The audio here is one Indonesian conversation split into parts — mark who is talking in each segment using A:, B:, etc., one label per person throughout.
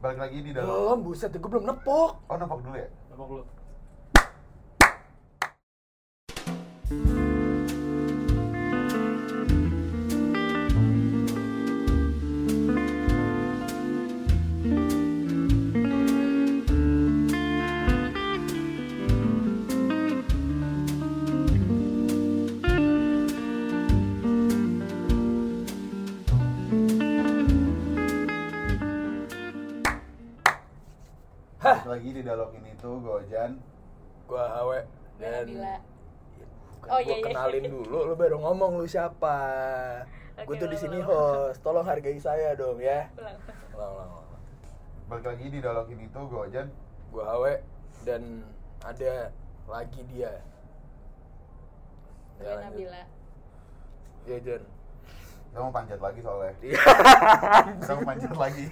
A: balik lagi di dalam.
B: Belum, buset, gue belum nepok.
A: Oh, nampak dulu ya?
C: Tepuk lu.
A: Balik lagi di dialog ini tuh, Gojan.
B: Gua Awe
D: Gue
B: dan
D: Nabila.
B: Bukan,
D: Oh,
B: gua
D: iya, iya.
B: kenalin dulu, lu baru ngomong lu siapa.
D: Oke,
B: gue tuh di
D: ulang,
B: sini
D: ulang.
B: host, tolong hargai saya dong ya.
D: Ulang.
B: Ulang, ulang, ulang.
A: Balik lagi di dialog ini tuh, Gojan.
B: Gua Awe dan ada lagi dia.
D: Gue
B: Ya, lanjut.
D: Nabila.
B: Iya, Jon.
A: Kita mau panjat lagi soalnya. Kita mau panjat lagi.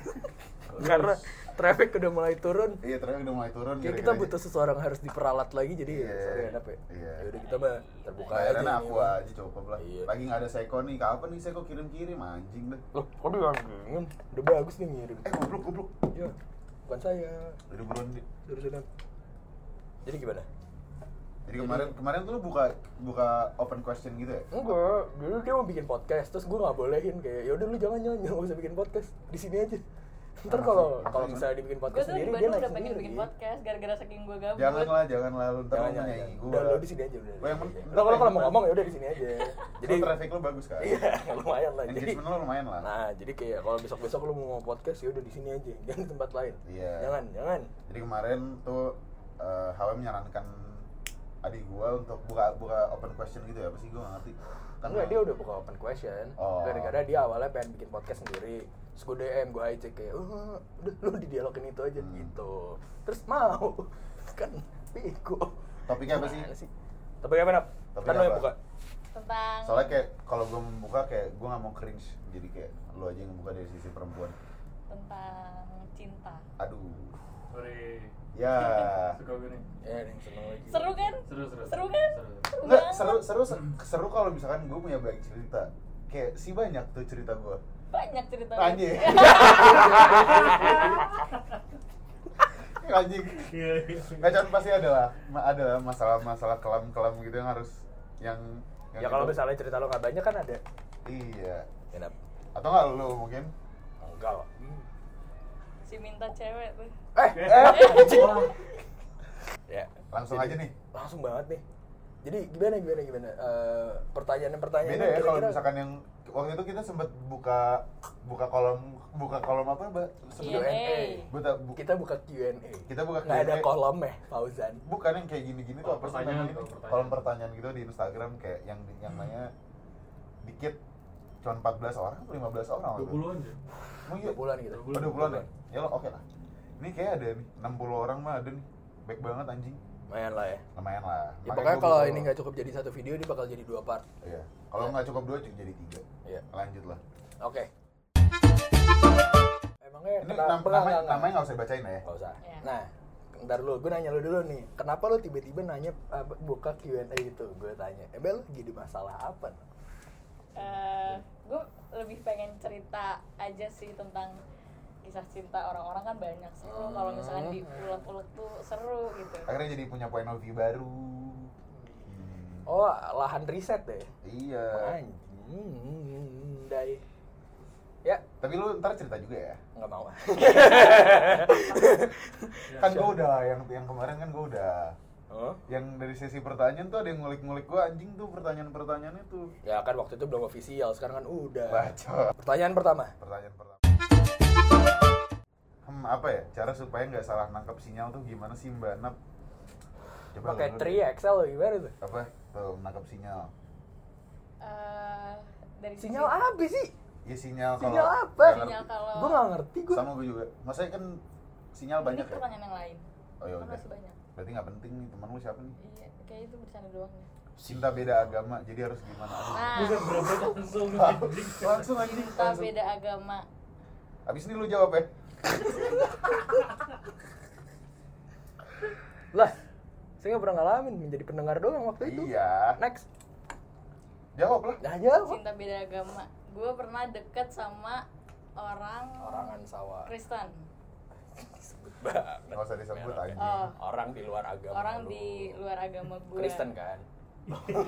B: Karena traffic udah mulai turun.
A: Iya, ternyata udah mulai turun.
B: Kayak kita
A: kira-kira
B: butuh seseorang harus diperalat lagi jadi
A: Iya.
B: sorry enak ya.
A: Iya.
B: Yaudah kita mah terbuka aja.
A: Bayarannya
B: nih,
A: aku
B: emang.
A: aja cukup lah.
B: Iya.
A: Lagi nggak ada Seko nih, kapan nih Seko kirim-kirim anjing deh.
C: Loh, kok bilang dingin?
B: Udah bagus nih ngirim.
A: Eh goblok goblok.
B: Ya, bukan saya.
A: Jadi buruan
B: Suruh sudah. Jadi gimana?
A: Jadi kemarin kemarin tuh lu buka buka open question gitu ya?
B: Enggak, dulu dia mau bikin podcast, terus gue nggak bolehin kayak yaudah lu jangan jangan jangan usah bikin podcast di sini aja.
A: Nah, maksud-
B: Ntar kalau kalau
A: maksudnya-
B: misalnya dibikin
D: Gue
B: podcast
D: tuh di
B: sendiri dia
D: Bandung
B: naik
D: udah pengen
B: sendiri.
D: bikin podcast gara-gara saking gue gabut.
A: Janganlah, janganlah lu ntar
B: Jangan
A: lu
B: jangan.
A: menyaingi gua.
B: Udah lu di sini aja udah.
A: Gua yang men-
B: Udah kalau kalau mau ngomong ya udah di sini aja.
A: Jadi traffic lu bagus kan?
B: Iya, lumayan lah. Jadi
A: Engagement lu lumayan lah.
B: Nah, jadi kayak kalau besok-besok lu mau podcast ya udah di sini aja, jangan di tempat lain.
A: Iya.
B: Jangan, jangan.
A: Jadi kemarin tuh eh HW menyarankan adik gua untuk buka buka open question gitu ya, apa sih gua nggak ngerti. Kan
B: Enggak, dia udah buka open question.
A: Oh.
B: Gara-gara dia awalnya pengen bikin podcast sendiri. Terus gue DM, gue aja kayak, "Eh, udah lu di dialogin itu aja
A: Hmm.
B: gitu. Terus mau. Kan bego.
A: Topiknya apa
B: Gimana
A: sih?
B: Topiknya apa, Nap?
A: Topiknya
B: Kan lu yang
A: apa?
B: buka.
D: Tentang
A: Soalnya kayak kalau gua membuka kayak gua nggak mau cringe, jadi kayak lu aja yang buka dari sisi perempuan.
D: tentang cinta.
A: Aduh,
C: Sorry.
A: ya.
C: Suka gue nih.
B: Ya, ada yang seneng lagi.
D: Seru kan?
C: Seru, seru.
D: Seru kan?
C: Seru,
D: Seru
A: Nggak,
D: banget.
A: seru seru seru kalau misalkan gue punya banyak cerita. Kayak si banyak tuh cerita gue.
D: Banyak cerita.
A: Anjing. Anjing.
C: Iya, iya.
A: Nggak cuman pasti adalah adalah masalah-masalah kelam-kelam gitu yang harus yang, yang
B: Ya kalau
A: itu-
B: misalnya cerita lu nggak banyak kan ada.
A: Iya.
B: Ya, Nap.
A: Atau nggak lu mungkin?
B: Enggak kok.
D: Si minta cewek tuh.
B: Hmm. Eh, eh, anjing. ya.
A: Langsung aja nih.
B: Langsung banget nih. Jadi gimana gimana gimana? Eh, pertanyaan-pertanyaan
A: Beda ya kalau misalkan yang waktu itu kita sempat buka buka kolom buka kolom apa, Mbak?
D: Iya,
A: Sebelum-
D: Q&A.
A: Gua tak- bu-
B: kita buka Q&A.
A: Kita buka
B: Nggak ada
A: Q&A.
B: kolomnya, Fauzan.
A: bukan yang kayak gini-gini tuh
C: Kolom
A: apa sih
C: pertanyaan,
A: namanya?
C: kolom pertanyaan.
A: kolom pertanyaan gitu di Instagram kayak yang yang nanya dikit cuma 14 orang atau 15 orang waktu itu?
C: 20 aja.
A: Oh iya.
B: 20-an gitu.
A: Oh, 20-an ya? Ya lo oke lah Ini kayak ada nih, 60 orang mah ada nih Baik banget anjing
B: Lumayan lah ya.
A: Lumayan lah
B: Ya,
A: Makanya
B: pokoknya
A: gua
B: kalau
A: butuh
B: ini
A: lo.
B: nggak Ya. cukup jadi satu video, ini bakal jadi dua part.
A: Iya Kalau nggak cukup dua cukup jadi tiga
B: Iya.
A: Lanjut lah
B: Oke. Emangnya
A: Ini
B: Eh, kenapa-
A: nam-
B: nggak,
A: namanya,
B: nggak,
A: namanya nggak usah dibacain ya
B: nggak. Nggak usah.
D: Iya.
B: Nah, ntar lu, gue nanya lu dulu nih. Kenapa lu tiba-tiba nanya eh, buka Q&A gitu? Gue tanya, eh Bel, lagi di masalah apa?
D: gue Eh, lebih pengen cerita aja sih tentang kisah cinta orang-orang kan banyak seru kalau
B: Hmm.
D: misalnya diulet-ulet tuh seru gitu
A: Akhirnya jadi punya point of view baru Hmm.
B: Oh, lahan riset deh.
A: Iya
B: Anjing, dai. Ya,
A: Tapi lu ntar cerita juga ya
B: nggak mau. Ya,
A: Kan gue udah, yang yang kemarin kan gue udah
B: oh?
A: Yang dari sesi pertanyaan tuh ada yang ngulik-ngulik gue anjing tuh pertanyaan-pertanyaannya tuh
B: Ya kan waktu itu belum official, sekarang kan udah.
A: Bacot
B: Pertanyaan pertama.
A: Pertanyaan pertama. Hmm, apa ya? Cara supaya nggak salah nangkap sinyal tuh gimana sih Mbak Nap? Coba
B: Pakai
A: lu dulu.
B: 3 Excel lo gimana tuh?
A: Apa? Tuh, nangkap sinyal.
D: Eh, dari sisi-
B: Sinyal apa sih?
A: Iya sinyal kalau
B: Sinyal apa?
A: nggak
D: Sinyal
A: ngerti.
D: kalau
B: Gue gak ngerti gue.
A: Sama gue juga. Maksudnya kan sinyal banyak
D: Ini
A: ya?
D: pertanyaan yang lain
A: Oh ya
D: Kan
A: udah.
D: masih banyak
A: Berarti nggak penting nih teman lu siapa nih?
D: iya kayak itu bercanda doang ya
A: Cinta beda agama, jadi harus gimana? Aduh.
D: nah
C: Bisa berapa langsung
A: langsung aja.
D: cinta
A: langsung.
D: beda agama
A: Abis ini lu jawab ya.
B: Lah, saya gak pernah ngalamin menjadi pendengar doang waktu itu.
A: Iya.
B: Next.
A: Jawab lah.
B: Nah, jawab.
D: cinta beda agama gue pernah deket sama orang
B: Orangan sawah.
D: Kristen
B: disebut banget
A: Nggak usah disebut,
B: Merek ya.
A: anjing.
D: Oh.
B: orang di luar agama
D: orang
B: lu.
D: di luar agama gue
B: Kristen kan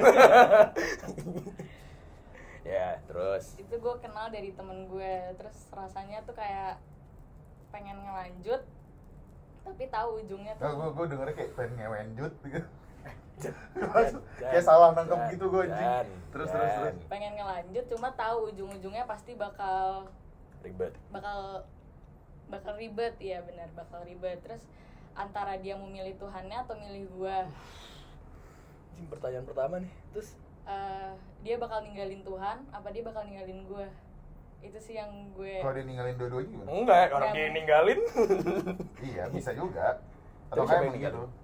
B: ya terus
D: itu gue kenal dari temen gue terus rasanya tuh kayak pengen ngelanjut tapi tahu ujungnya
A: Nah,
D: tuh
A: gue gue dengernya kayak pengen ngewen jut gitu.
B: Jan,
A: kayak salah nangkep
B: Jan,
A: gitu gue anjing.
B: Jan,
A: Terus
B: Jan.
A: terus terus.
D: pengen ngelanjut cuma tahu ujung-ujungnya pasti bakal
B: ribet
D: bakal bakal ribet ya benar bakal ribet terus antara dia mau milih Tuhannya atau milih gua
E: Anjing, pertanyaan pertama nih terus
D: eh, dia bakal ninggalin Tuhan apa dia bakal ninggalin gua itu sih yang gue
A: Kalau dia ninggalin dua-duanya gimana?
B: enggak orang dia
D: Yang-
B: ninggalin
A: Iya, bisa juga. Atau kayak
B: Tapi siapa yang
A: emang gitu.
B: ninggalin?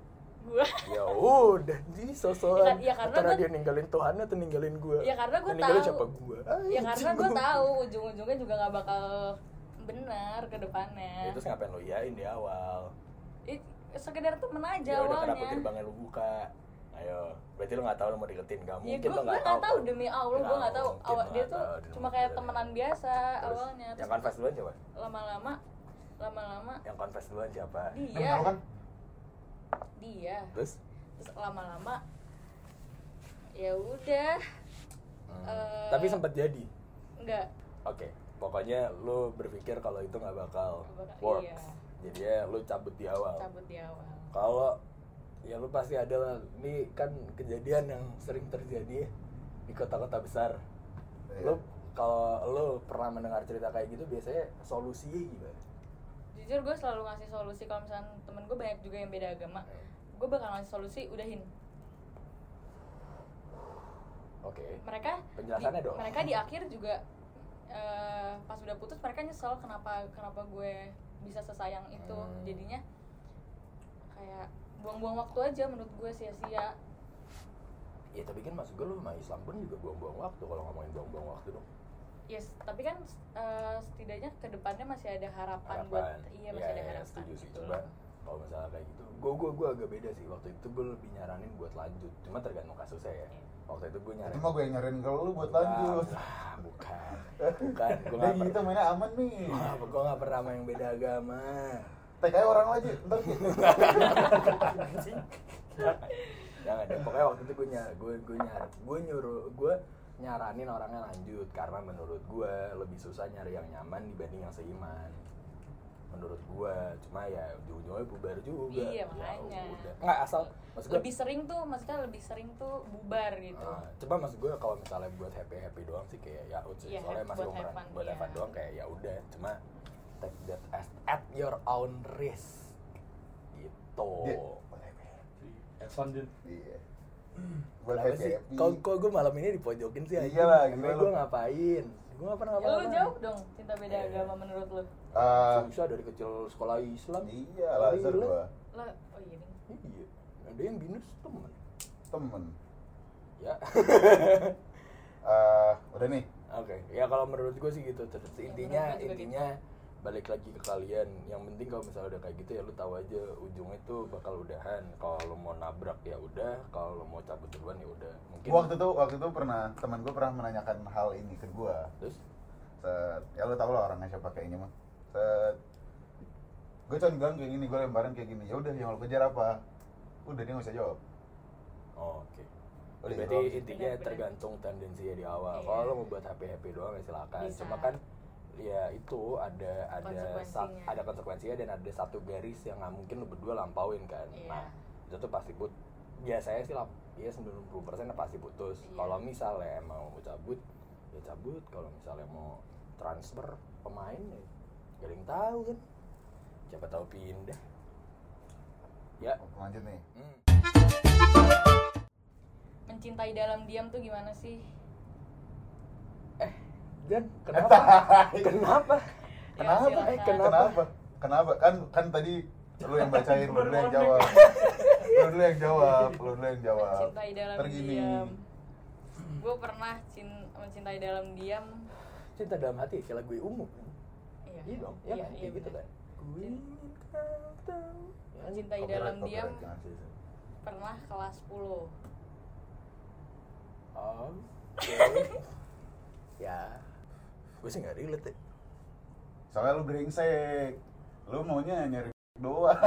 D: gua
B: ya
E: udah di sosokan
D: Ya, ya, karena
E: antara
D: gua-
E: dia ninggalin Tuhan atau ninggalin gue
D: Ya, karena gua
E: ninggalin
D: tahu.
E: siapa gue
B: Ah,
D: ya karena gue tahu ujung-ujungnya juga nggak bakal benar ke depannya
B: Ya, terus ngapain lo iyain di awal
D: It- sekedar temen
B: ya
D: aja
B: udah kenapa
D: awalnya
B: gerbangnya lu buka ayo berarti lu nggak tahu lu mau deketin gak
D: ya
B: mungkin
D: gue
B: lu
D: gue
B: nggak
D: nggak tahu
B: kan?
D: demi Allah gue nggak tahu
B: mungkin
D: awal
B: lu
D: dia
B: nggak
D: tuh
B: tahu, dia
D: cuma
B: mau
D: kayak
B: ngedeketin.
D: temenan biasa
B: Terus, ya kan,
D: awalnya
B: yang
D: terus
B: confess duluan siapa
D: lama-lama lama-lama
B: yang confess duluan siapa
A: Kan
D: dia
A: kalau kan
D: dia
B: terus
D: terus lama-lama ya udah
B: Hmm.
D: eh,
E: tapi sempat jadi
D: nggak
B: oke pokoknya lu berpikir kalau itu nggak bakal
D: Nggak bakal,
B: works
D: iya.
B: jadi ya lu cabut di awal
D: cabut di awal
E: kalau ya lu pasti ada lah ini kan kejadian yang sering terjadi di kota-kota besar
A: Iya.
E: lu kalau lu pernah mendengar cerita kayak gitu biasanya solusinya
B: gitu.
E: gimana
D: jujur gue selalu ngasih solusi kalau misalnya temen gue banyak juga yang beda agama
B: Hmm.
D: gue bakal ngasih solusi udahin
B: oke
D: mereka
B: Penjelasannya
D: di,
B: dong.
D: mereka di akhir juga eh, pas udah putus mereka nyesel kenapa kenapa gue bisa sesayang itu
B: Hmm.
D: jadinya kayak buang-buang waktu aja menurut gue sia-sia
B: ya tapi kan maksud gue lu sama Islam pun juga buang-buang waktu kalau ngomongin buang-buang waktu dong
D: yes tapi kan eh, setidaknya kedepannya masih ada harapan,
A: Kan
D: buat
B: harapan
D: iya masih ada harapan
B: Ya,
D: Gitu
B: setuju sih
A: Gitu.
D: Betul.
B: coba kalau misalnya kayak gitu gue gue gue agak beda sih waktu itu gue lebih nyaranin buat lanjut cuma tergantung kasusnya ya waktu itu gue nyaranin
A: Iya. Itu mah gue yang nyariin ke lu buat lanjut.
B: Ah, bukan bukan gue
A: Udah
B: nggak
A: gitu
B: pernah
A: mainnya aman nih.
E: gue gak pernah sama yang beda agama
A: Tek aja orang lagi, ntar gitu.
E: Oh,
B: jangan Ya deh. pokoknya waktu itu gue nyar gue gue nyar gue nyuruh gue nyaranin orangnya lanjut karena menurut gue lebih susah nyari yang nyaman dibanding yang seiman menurut gue cuma ya ujung-ujungnya bubar juga
D: Iya,
B: Ya
D: makanya.
B: udah. nggak asal maksud gue
D: lebih sering tuh maksudnya lebih sering tuh bubar gitu
B: Ah, coba mas gue kalau misalnya buat happy happy doang sih kayak ya udah
D: Iya,
B: soalnya
D: buat
B: masih
D: have
B: umuran
D: fun,
B: buat have
D: iya.
B: fun doang kayak ya udah cuma take that as
E: at your own risk
B: gitu
A: Iya.
C: Evan Jun.
A: Iya. Buat
E: Kenapa
A: happy
E: sih?
A: happy.
E: Kok kok gue malam ini dipojokin sih? anjing?
A: Iyalah,
E: Emang
A: gila
E: gue
A: Iya lu.
E: ngapain? Gue nggak pernah
D: ya,
E: ngapain.
D: lu jawab dong cinta beda
B: Iya.
D: agama menurut lu
A: Eh,
B: susah dari kecil sekolah Islam
A: Iya, Lazar
E: Gila.
A: gua.
D: lo oh iya nih.
B: iya ada yang binus temen
A: Temen.
B: ya
A: Eh, udah nih.
B: oke ya kalau menurut gue sih gitu terus
D: Ya,
B: intinya
D: menurut gue juga
B: intinya balik lagi ke kalian yang penting kalau misalnya udah kayak gitu ya lu tahu aja ujungnya tuh bakal udahan kalau lu mau nabrak ya udah kalau lu mau cabut duluan ya udah mungkin
A: Waktu itu waktu itu pernah teman gue pernah menanyakan hal ini ke gua.
B: terus
A: Set, ya lu tau lah orangnya siapa kayak ini mah. Set, gue cuman bilang kayak gini, gue lemparan kayak gini. Ya udah, yang lo kejar apa? Udah dia nggak usah jawab.
B: Oh, oke
A: Udah,
B: berarti
A: itu doang.
B: intinya
D: Benar-benar.
B: tergantung tendensinya di awal
D: Iya.
B: kalau lo mau buat happy happy doang ya silakan
D: Bisa.
B: cuma kan ya itu ada ada sat-
D: Konsekuensinya.
B: ada konsekuensinya dan ada satu garis yang nggak mungkin lo berdua lampauin kan
D: Iya.
B: nah itu tuh pasti put biasanya sih lap ya 90% pasti putus
D: Iya.
B: kalau misalnya emang mau cabut ya cabut kalau misalnya mau transfer pemain ya gak ada yang tahu kan siapa tahu pindah ya
A: Lanjut nih.
B: hmm.
D: mencintai dalam diam tuh gimana sih
E: Dan kenapa? kenapa?
A: Eh, Kenapa?
D: Ya, silakan.
E: Eh,
A: Kenapa? Kenapa? Kan kan tadi lu yang bacain, lu dulu yang jawab. Lu dulu yang jawab, lu dulu yang jawab.
D: mencintai dalam
A: Ntar gini.
D: diam gue pernah cin- mencintai dalam diam
E: Cinta dalam hati kayak lagu ungu.
D: iya
E: Iya dong,
B: Ya,
E: iya
D: Iya,
E: kan? Kayak
D: iya,
E: gitu
D: benar.
E: kan? Ku ingin kau tahu. Ya, anjing.
D: mencintai
A: Copyright,
D: dalam
A: copyright,
D: diam
A: jangan.
D: pernah kelas 10
E: Oh. ya. Gue sih gak relate ya.
A: Soalnya lu brengsek. lu maunya nyari doang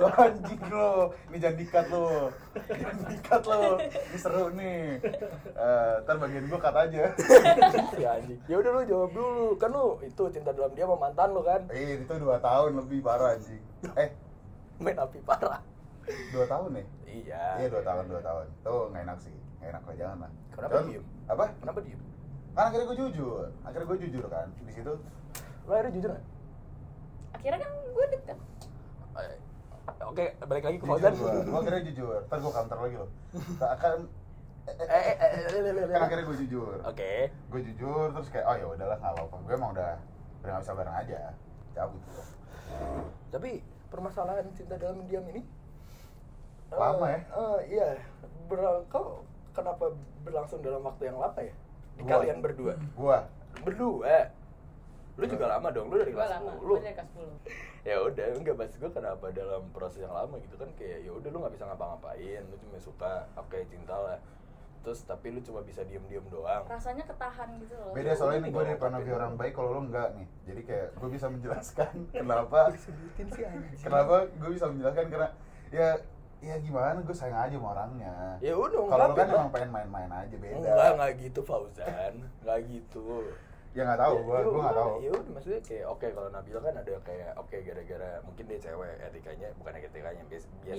A: lu anjing lu ini jangan dikat lu jangan dikat lu ini seru nih Eh, ntar bagian gua cut aja
B: ya anjing ya udah lu jawab dulu kan lu itu cinta dalam dia sama mantan lu kan
A: eh itu dua tahun lebih parah anjing eh
B: main api parah
A: dua tahun nih
B: iya
A: iya dua tahun dua tahun tuh nggak enak sih nggak enak lah jangan lah
B: Kenapa
A: Cuman-
B: diem?
A: apa
B: kenapa diem
A: kan akhirnya gue jujur akhirnya gue jujur kan di situ
B: lu akhirnya jujur nggak
D: akhirnya kan gue deket
B: Eh, oke balik lagi ke
A: jujur
B: Fauzan
A: gue gue akhirnya jujur ntar gue counter lagi loh Tak akan eh,
B: eh
A: eh,
B: eh eh, eh, eh, eh, eh.
A: kan akhirnya gue jujur
B: oke
A: gue jujur terus kayak oh ya udahlah nggak apa-apa gue emang udah udah nggak bisa bareng aja gitu. cabut gue
B: tapi permasalahan cinta dalam diam ini eh,
A: Lama ya?
B: eh, iya Ber- kau kenapa berlangsung dalam waktu yang lama ya di
A: Gua.
B: kalian berdua
A: gue
B: berdua lu juga lama dong lu dari
D: gue
B: kelas
D: lama
B: 10
D: gue dari kelas 10
B: ya udah enggak bahas gue kenapa dalam proses yang lama gitu kan kayak ya udah lu nggak bisa ngapa-ngapain lu cuma suka oke cinta lah terus tapi lu cuma bisa diem-diem doang
D: rasanya ketahan gitu loh
A: beda soalnya ini gue
B: Gua
A: dari
B: ngungkapin.
A: panovi orang baik kalau lo enggak nih jadi kayak gue bisa menjelaskan kenapa kenapa gue bisa menjelaskan karena ya ya gimana gue sayang aja sama orangnya
B: ya udah
A: kalau lo
B: ungkapin
A: kan
B: lah.
A: emang pengen main-main aja beda
B: enggak enggak gitu Fauzan enggak gitu
A: ya nggak tahu gue gue nggak tahu
B: Ya udah maksudnya kayak oke kalau Nabila kan ada kayak oke gara-gara mungkin dia cewek etikanya bukan etikanya bias, biasanya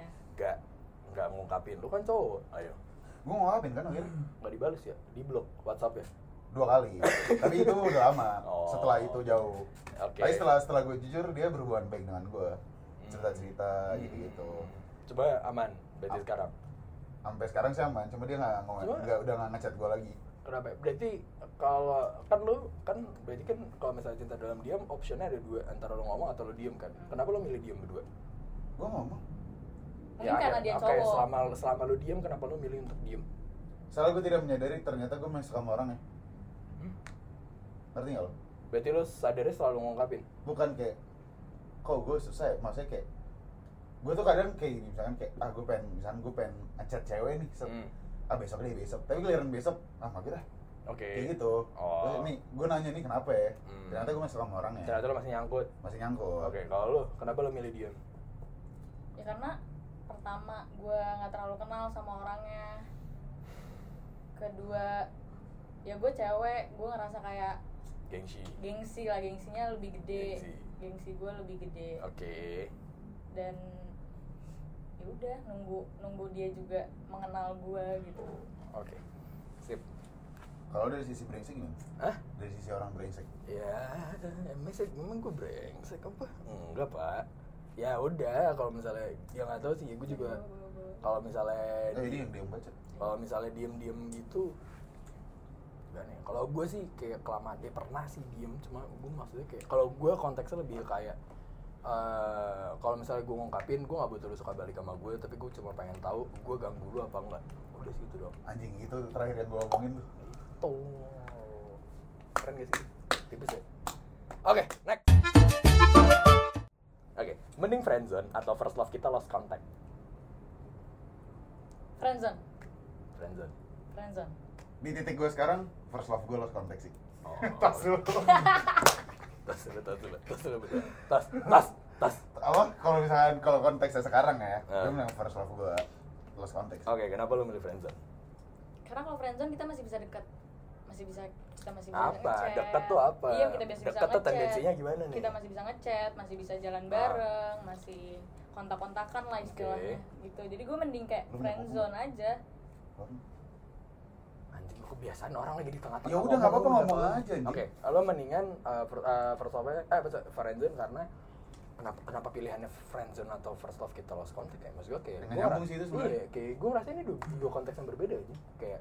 D: Biasanya.
B: nggak nggak ngungkapin. Lu kan cowok, ayo
A: gue ngomongin kan akhirnya
B: nggak dibales ya, di blok WhatsApp ya.
A: dua kali tapi itu udah lama
B: Oh.
A: setelah itu jauh
B: Oke.
A: tapi setelah setelah gue jujur dia berhubungan baik dengan gue
B: Hmm.
A: cerita cerita gitu gitu Ah.
B: Coba aman berarti
A: Am-
B: sekarang.
A: sampai sekarang sih aman cuma dia nggak ngomong
B: Cuma-
A: nggak udah nggak ngechat gue lagi
B: Kenapa? ya? Berarti kalau kan lu kan berarti kan kalau misalnya cinta dalam diam optionnya ada dua antara lu ngomong atau lu diem kan. Kenapa lu milih diem berdua?
A: gue ngomong
D: Mungkin
B: Iya,
D: karena
B: ada-
D: dia
B: oke,
D: cowok.
B: selama selama lu diem kenapa lu milih untuk diem?
A: soalnya gue tidak menyadari ternyata gue masih suka sama orang ya
B: Hmm?
A: ngerti nggak lo
B: Berarti lu sadarnya selalu ngungkapin.
A: bukan kayak kok gue susah ya maksudnya kayak gue tuh kadang kayak gini, misalkan kayak ah gue pengen misalkan gue pengen ngechat cewek nih set-
B: Hmm.
A: ah besok deh besok tapi giliran besok ah mager ah
B: Oke.
A: kayak gitu
B: Oh.
A: Terus nih gue nanya nih kenapa ya
B: Hmm.
A: ternyata gue masih suka sama orangnya
B: Ternyata lo masih nyangkut.
A: masih nyangkut
B: Oke, kalau lo, kenapa lo milih diem?
D: ya karena pertama gue nggak terlalu kenal sama orangnya kedua ya gue cewek gue ngerasa kayak
B: Gengsi.
D: gengsi lah gengsinya lebih gede
B: Gengsi.
D: gengsi gue lebih gede
B: Oke.
D: dan ya udah nunggu nunggu dia juga mengenal gue gitu
B: Oke. Sip.
A: kalau dari sisi brengsek gimana
B: Hah?
A: dari sisi orang brengsek
B: Ya, emang sih emang gue brengsek apa? Enggak, Pak. Ya udah, kalau misalnya ya nggak tahu sih, gue
D: Iya,
B: juga kalau misalnya
A: eh, jadi yang dia baca
B: kalau misalnya diem-diem gitu gak nih kalau gue sih kayak kelamaan dia pernah sih diem cuma gue maksudnya kayak kalau gue konteksnya lebih kayak eh kalau misalnya gue ngungkapin gue gak butuh lu suka balik sama gue tapi gue cuma pengen tahu gue ganggu lu apa enggak udah sih gitu doang
A: anjing itu terakhir yang gue omongin tuh
B: tuh keren gak sih tipis ya oke next oke mending friendzone atau first love kita lost contact
D: friendzone
B: friendzone
D: friendzone
A: di titik gue sekarang first love gue lost konteks sih
B: Oh.
A: tas lu
B: tas dulu tas dulu tas dulu bentar. tas tas tas
A: apa kalau misalkan kalau konteksnya sekarang ya
B: Eh.
A: gue bilang first love gue lost konteks
B: Oke, kenapa lu milih friendzone?
D: karena kalau friendzone kita masih bisa dekat masih bisa kita masih bisa
B: Apa?
D: ngechat.
B: Deket tuh apa?
D: iya kita masih bisa
B: Deket tuh
D: ngechat.
B: tendensinya gimana nih?
D: kita masih bisa ngechat masih bisa jalan
B: Ah.
D: bareng masih kontak-kontakan lah istilahnya gitu jadi gue mending kayak
A: Lu punya
D: friendzone aja
B: Oh. Anjing lu kebiasaan orang lagi di tengah-tengah.
A: Ya udah, nggak apa-apa,
B: ngomong,
A: ngomong
B: nggak
A: aja, anjing.
B: Oke, lo mendingan uh, per, uh, first love eh first- friendzone karena kenapa kenapa pilihannya friendzone atau first love kita lost contact ya? Maksud gue kayak
A: Nggak
B: gua
A: nyambung
B: ngerasa-
A: sih itu sebenarnya.
B: Iya, kayak gue ngerasa ini dua, dua konteks yang berbeda aja. Kayak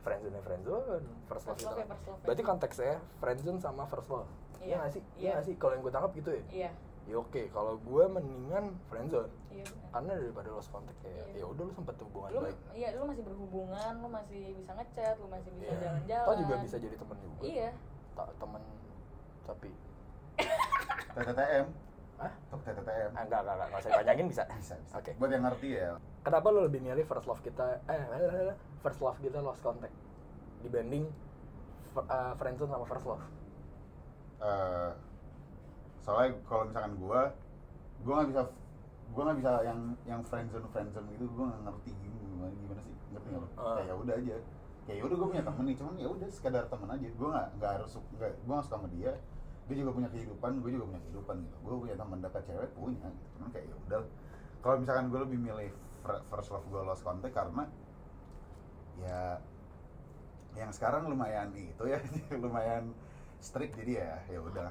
B: friendzone ya friendzone, first love
D: First
B: kita.
D: love ya first love ya.
B: Berarti konteksnya friendzone sama first love.
D: Iya.
B: Iya nggak sih? Iya
D: Iya.
B: nggak sih? Kalau yang gue tangkap gitu ya.
D: iya
B: Ya oke, kalau gue mendingan friendzone.
D: iya benar.
B: karena daripada lost contact kayak
D: Iya.
B: ya udah lu sempet hubungan
D: lu
B: baik
D: iya lu masih berhubungan lu masih bisa ngechat lu masih bisa
B: Iya.
D: jalan-jalan
B: Toh juga bisa jadi temen juga
D: iya
B: Ta- temen tapi
A: TTTM
B: Hah?
A: Tok TTTM
B: ah, enggak enggak enggak nggak usah dipanjangin bisa
A: bisa bisa
B: oke
A: buat yang ngerti ya
B: kenapa lu lebih milih first love kita eh eh, eh, first love kita lost contact dibanding fr- eh, friendzone sama first love
A: eh, soalnya soalnya kalau misalkan gue gue nggak bisa gue nggak bisa yang yang friendzone friendzone gitu gue nggak ngerti gimana gimana sih ngerti nggak lo?
B: Ah.
A: kayak ya udah aja kayak ya udah gue punya temen nih cuman ya udah sekadar temen aja gue nggak nggak harus nggak gue nggak suka sama dia dia juga punya kehidupan gue juga punya kehidupan gitu gue punya teman dekat cewek punya gitu. cuman kayak ya udah kalau misalkan gue lebih milih fir- first love gue lost contact karena ya yang sekarang lumayan itu ya lumayan strict jadi ya ya udah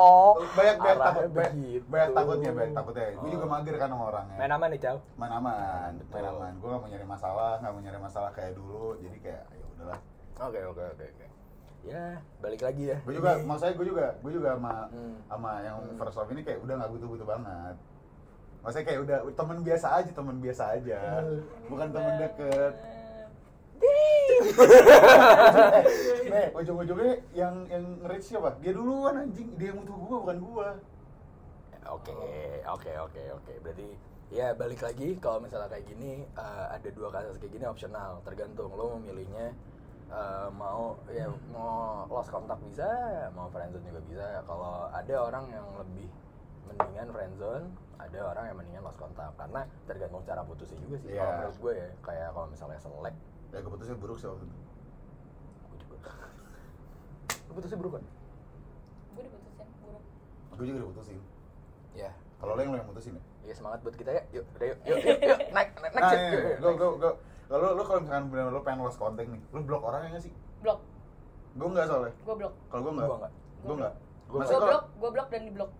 B: Oh.
A: banyak banyak
B: Arahnya
A: takut banyak,
B: begitu.
A: banyak takutnya banyak takutnya gue juga
B: Oh.
A: mager kan sama orangnya
B: Main aman nih, Cao.
A: main aman main
B: Betul.
A: aman gue gak mau nyari masalah gak mau nyari masalah kayak dulu jadi kayak ya udahlah
B: Oke, oke, oke, oke. Ya, balik lagi ya.
A: gue juga maksudnya gue juga gue juga sama
B: Hmm.
A: sama yang first love ini kayak udah nggak butuh butuh banget maksudnya kayak udah teman biasa aja teman biasa aja bukan teman deket eh ujung-ujungnya yang yang nge-reach siapa dia duluan anjing dia yang butuh gue bukan gue
B: Oke, oke, oke, oke. Berarti ya balik lagi kalau misalnya kayak gini eh, ada dua kasus kayak gini opsional, tergantung lo memilihnya eh, mau ya mau lost kontak bisa, mau friendzone juga bisa. Kalau ada orang yang lebih mendingan friendzone, ada orang yang mendingan lost kontak karena tergantung cara putusnya juga sih. Kalau
A: Iya.
B: menurut gue ya kayak kalau misalnya selek,
A: ya keputusannya buruk sih waktu itu
B: gue juga. Lo putusnya buruk kan?
D: gue diputusin buruk
A: gue juga udah putusin
B: Ya,
A: kalau lo yang lo yang putusin ya
B: ya semangat buat kita ya. Yuk, udah yuk, yuk, yuk, yuk. naik, naik, naik.
A: nah,
B: Cid.
A: iya, iya.
B: Yuk, yuk,
A: Go,
B: naik.
A: go, go. Kalau lu, kalau misalkan bener lu pengen lost kontak nih, lu blok orangnya ya nggak sih?
D: blok
A: Gue nggak soalnya.
D: gue blok
A: Kalau gue nggak.
B: Gua nggak.
A: Gue nggak.
B: Gua
D: gue
A: Maksudnya kalau,
D: blok gue blok dan diblok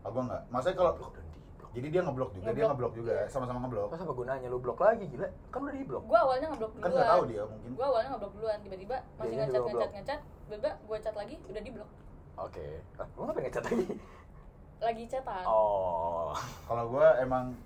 A: ah, gue nggak. Maksudnya kalau,
B: Dan di-blok.
A: jadi dia ngeblok juga, dia
D: Ngeblok.
A: ngeblok juga, sama-sama Kan ngeblok.
B: Terus apa gunanya lu blok lagi gila? Kan udah di blok.
D: gue awalnya ngeblok
A: Kan
D: duluan
A: nggak tahu dia mungkin.
D: gue awalnya ngeblok duluan tiba-tiba masih
B: Dianya juga
D: ngechat ngechat
B: ngeblok.
D: ngechat tiba-tiba gue chat lagi udah diblok
B: Oke. Ah, lu ngapain ngecat lagi?
D: lagi chatan
B: Oh.
A: Kalau gue emang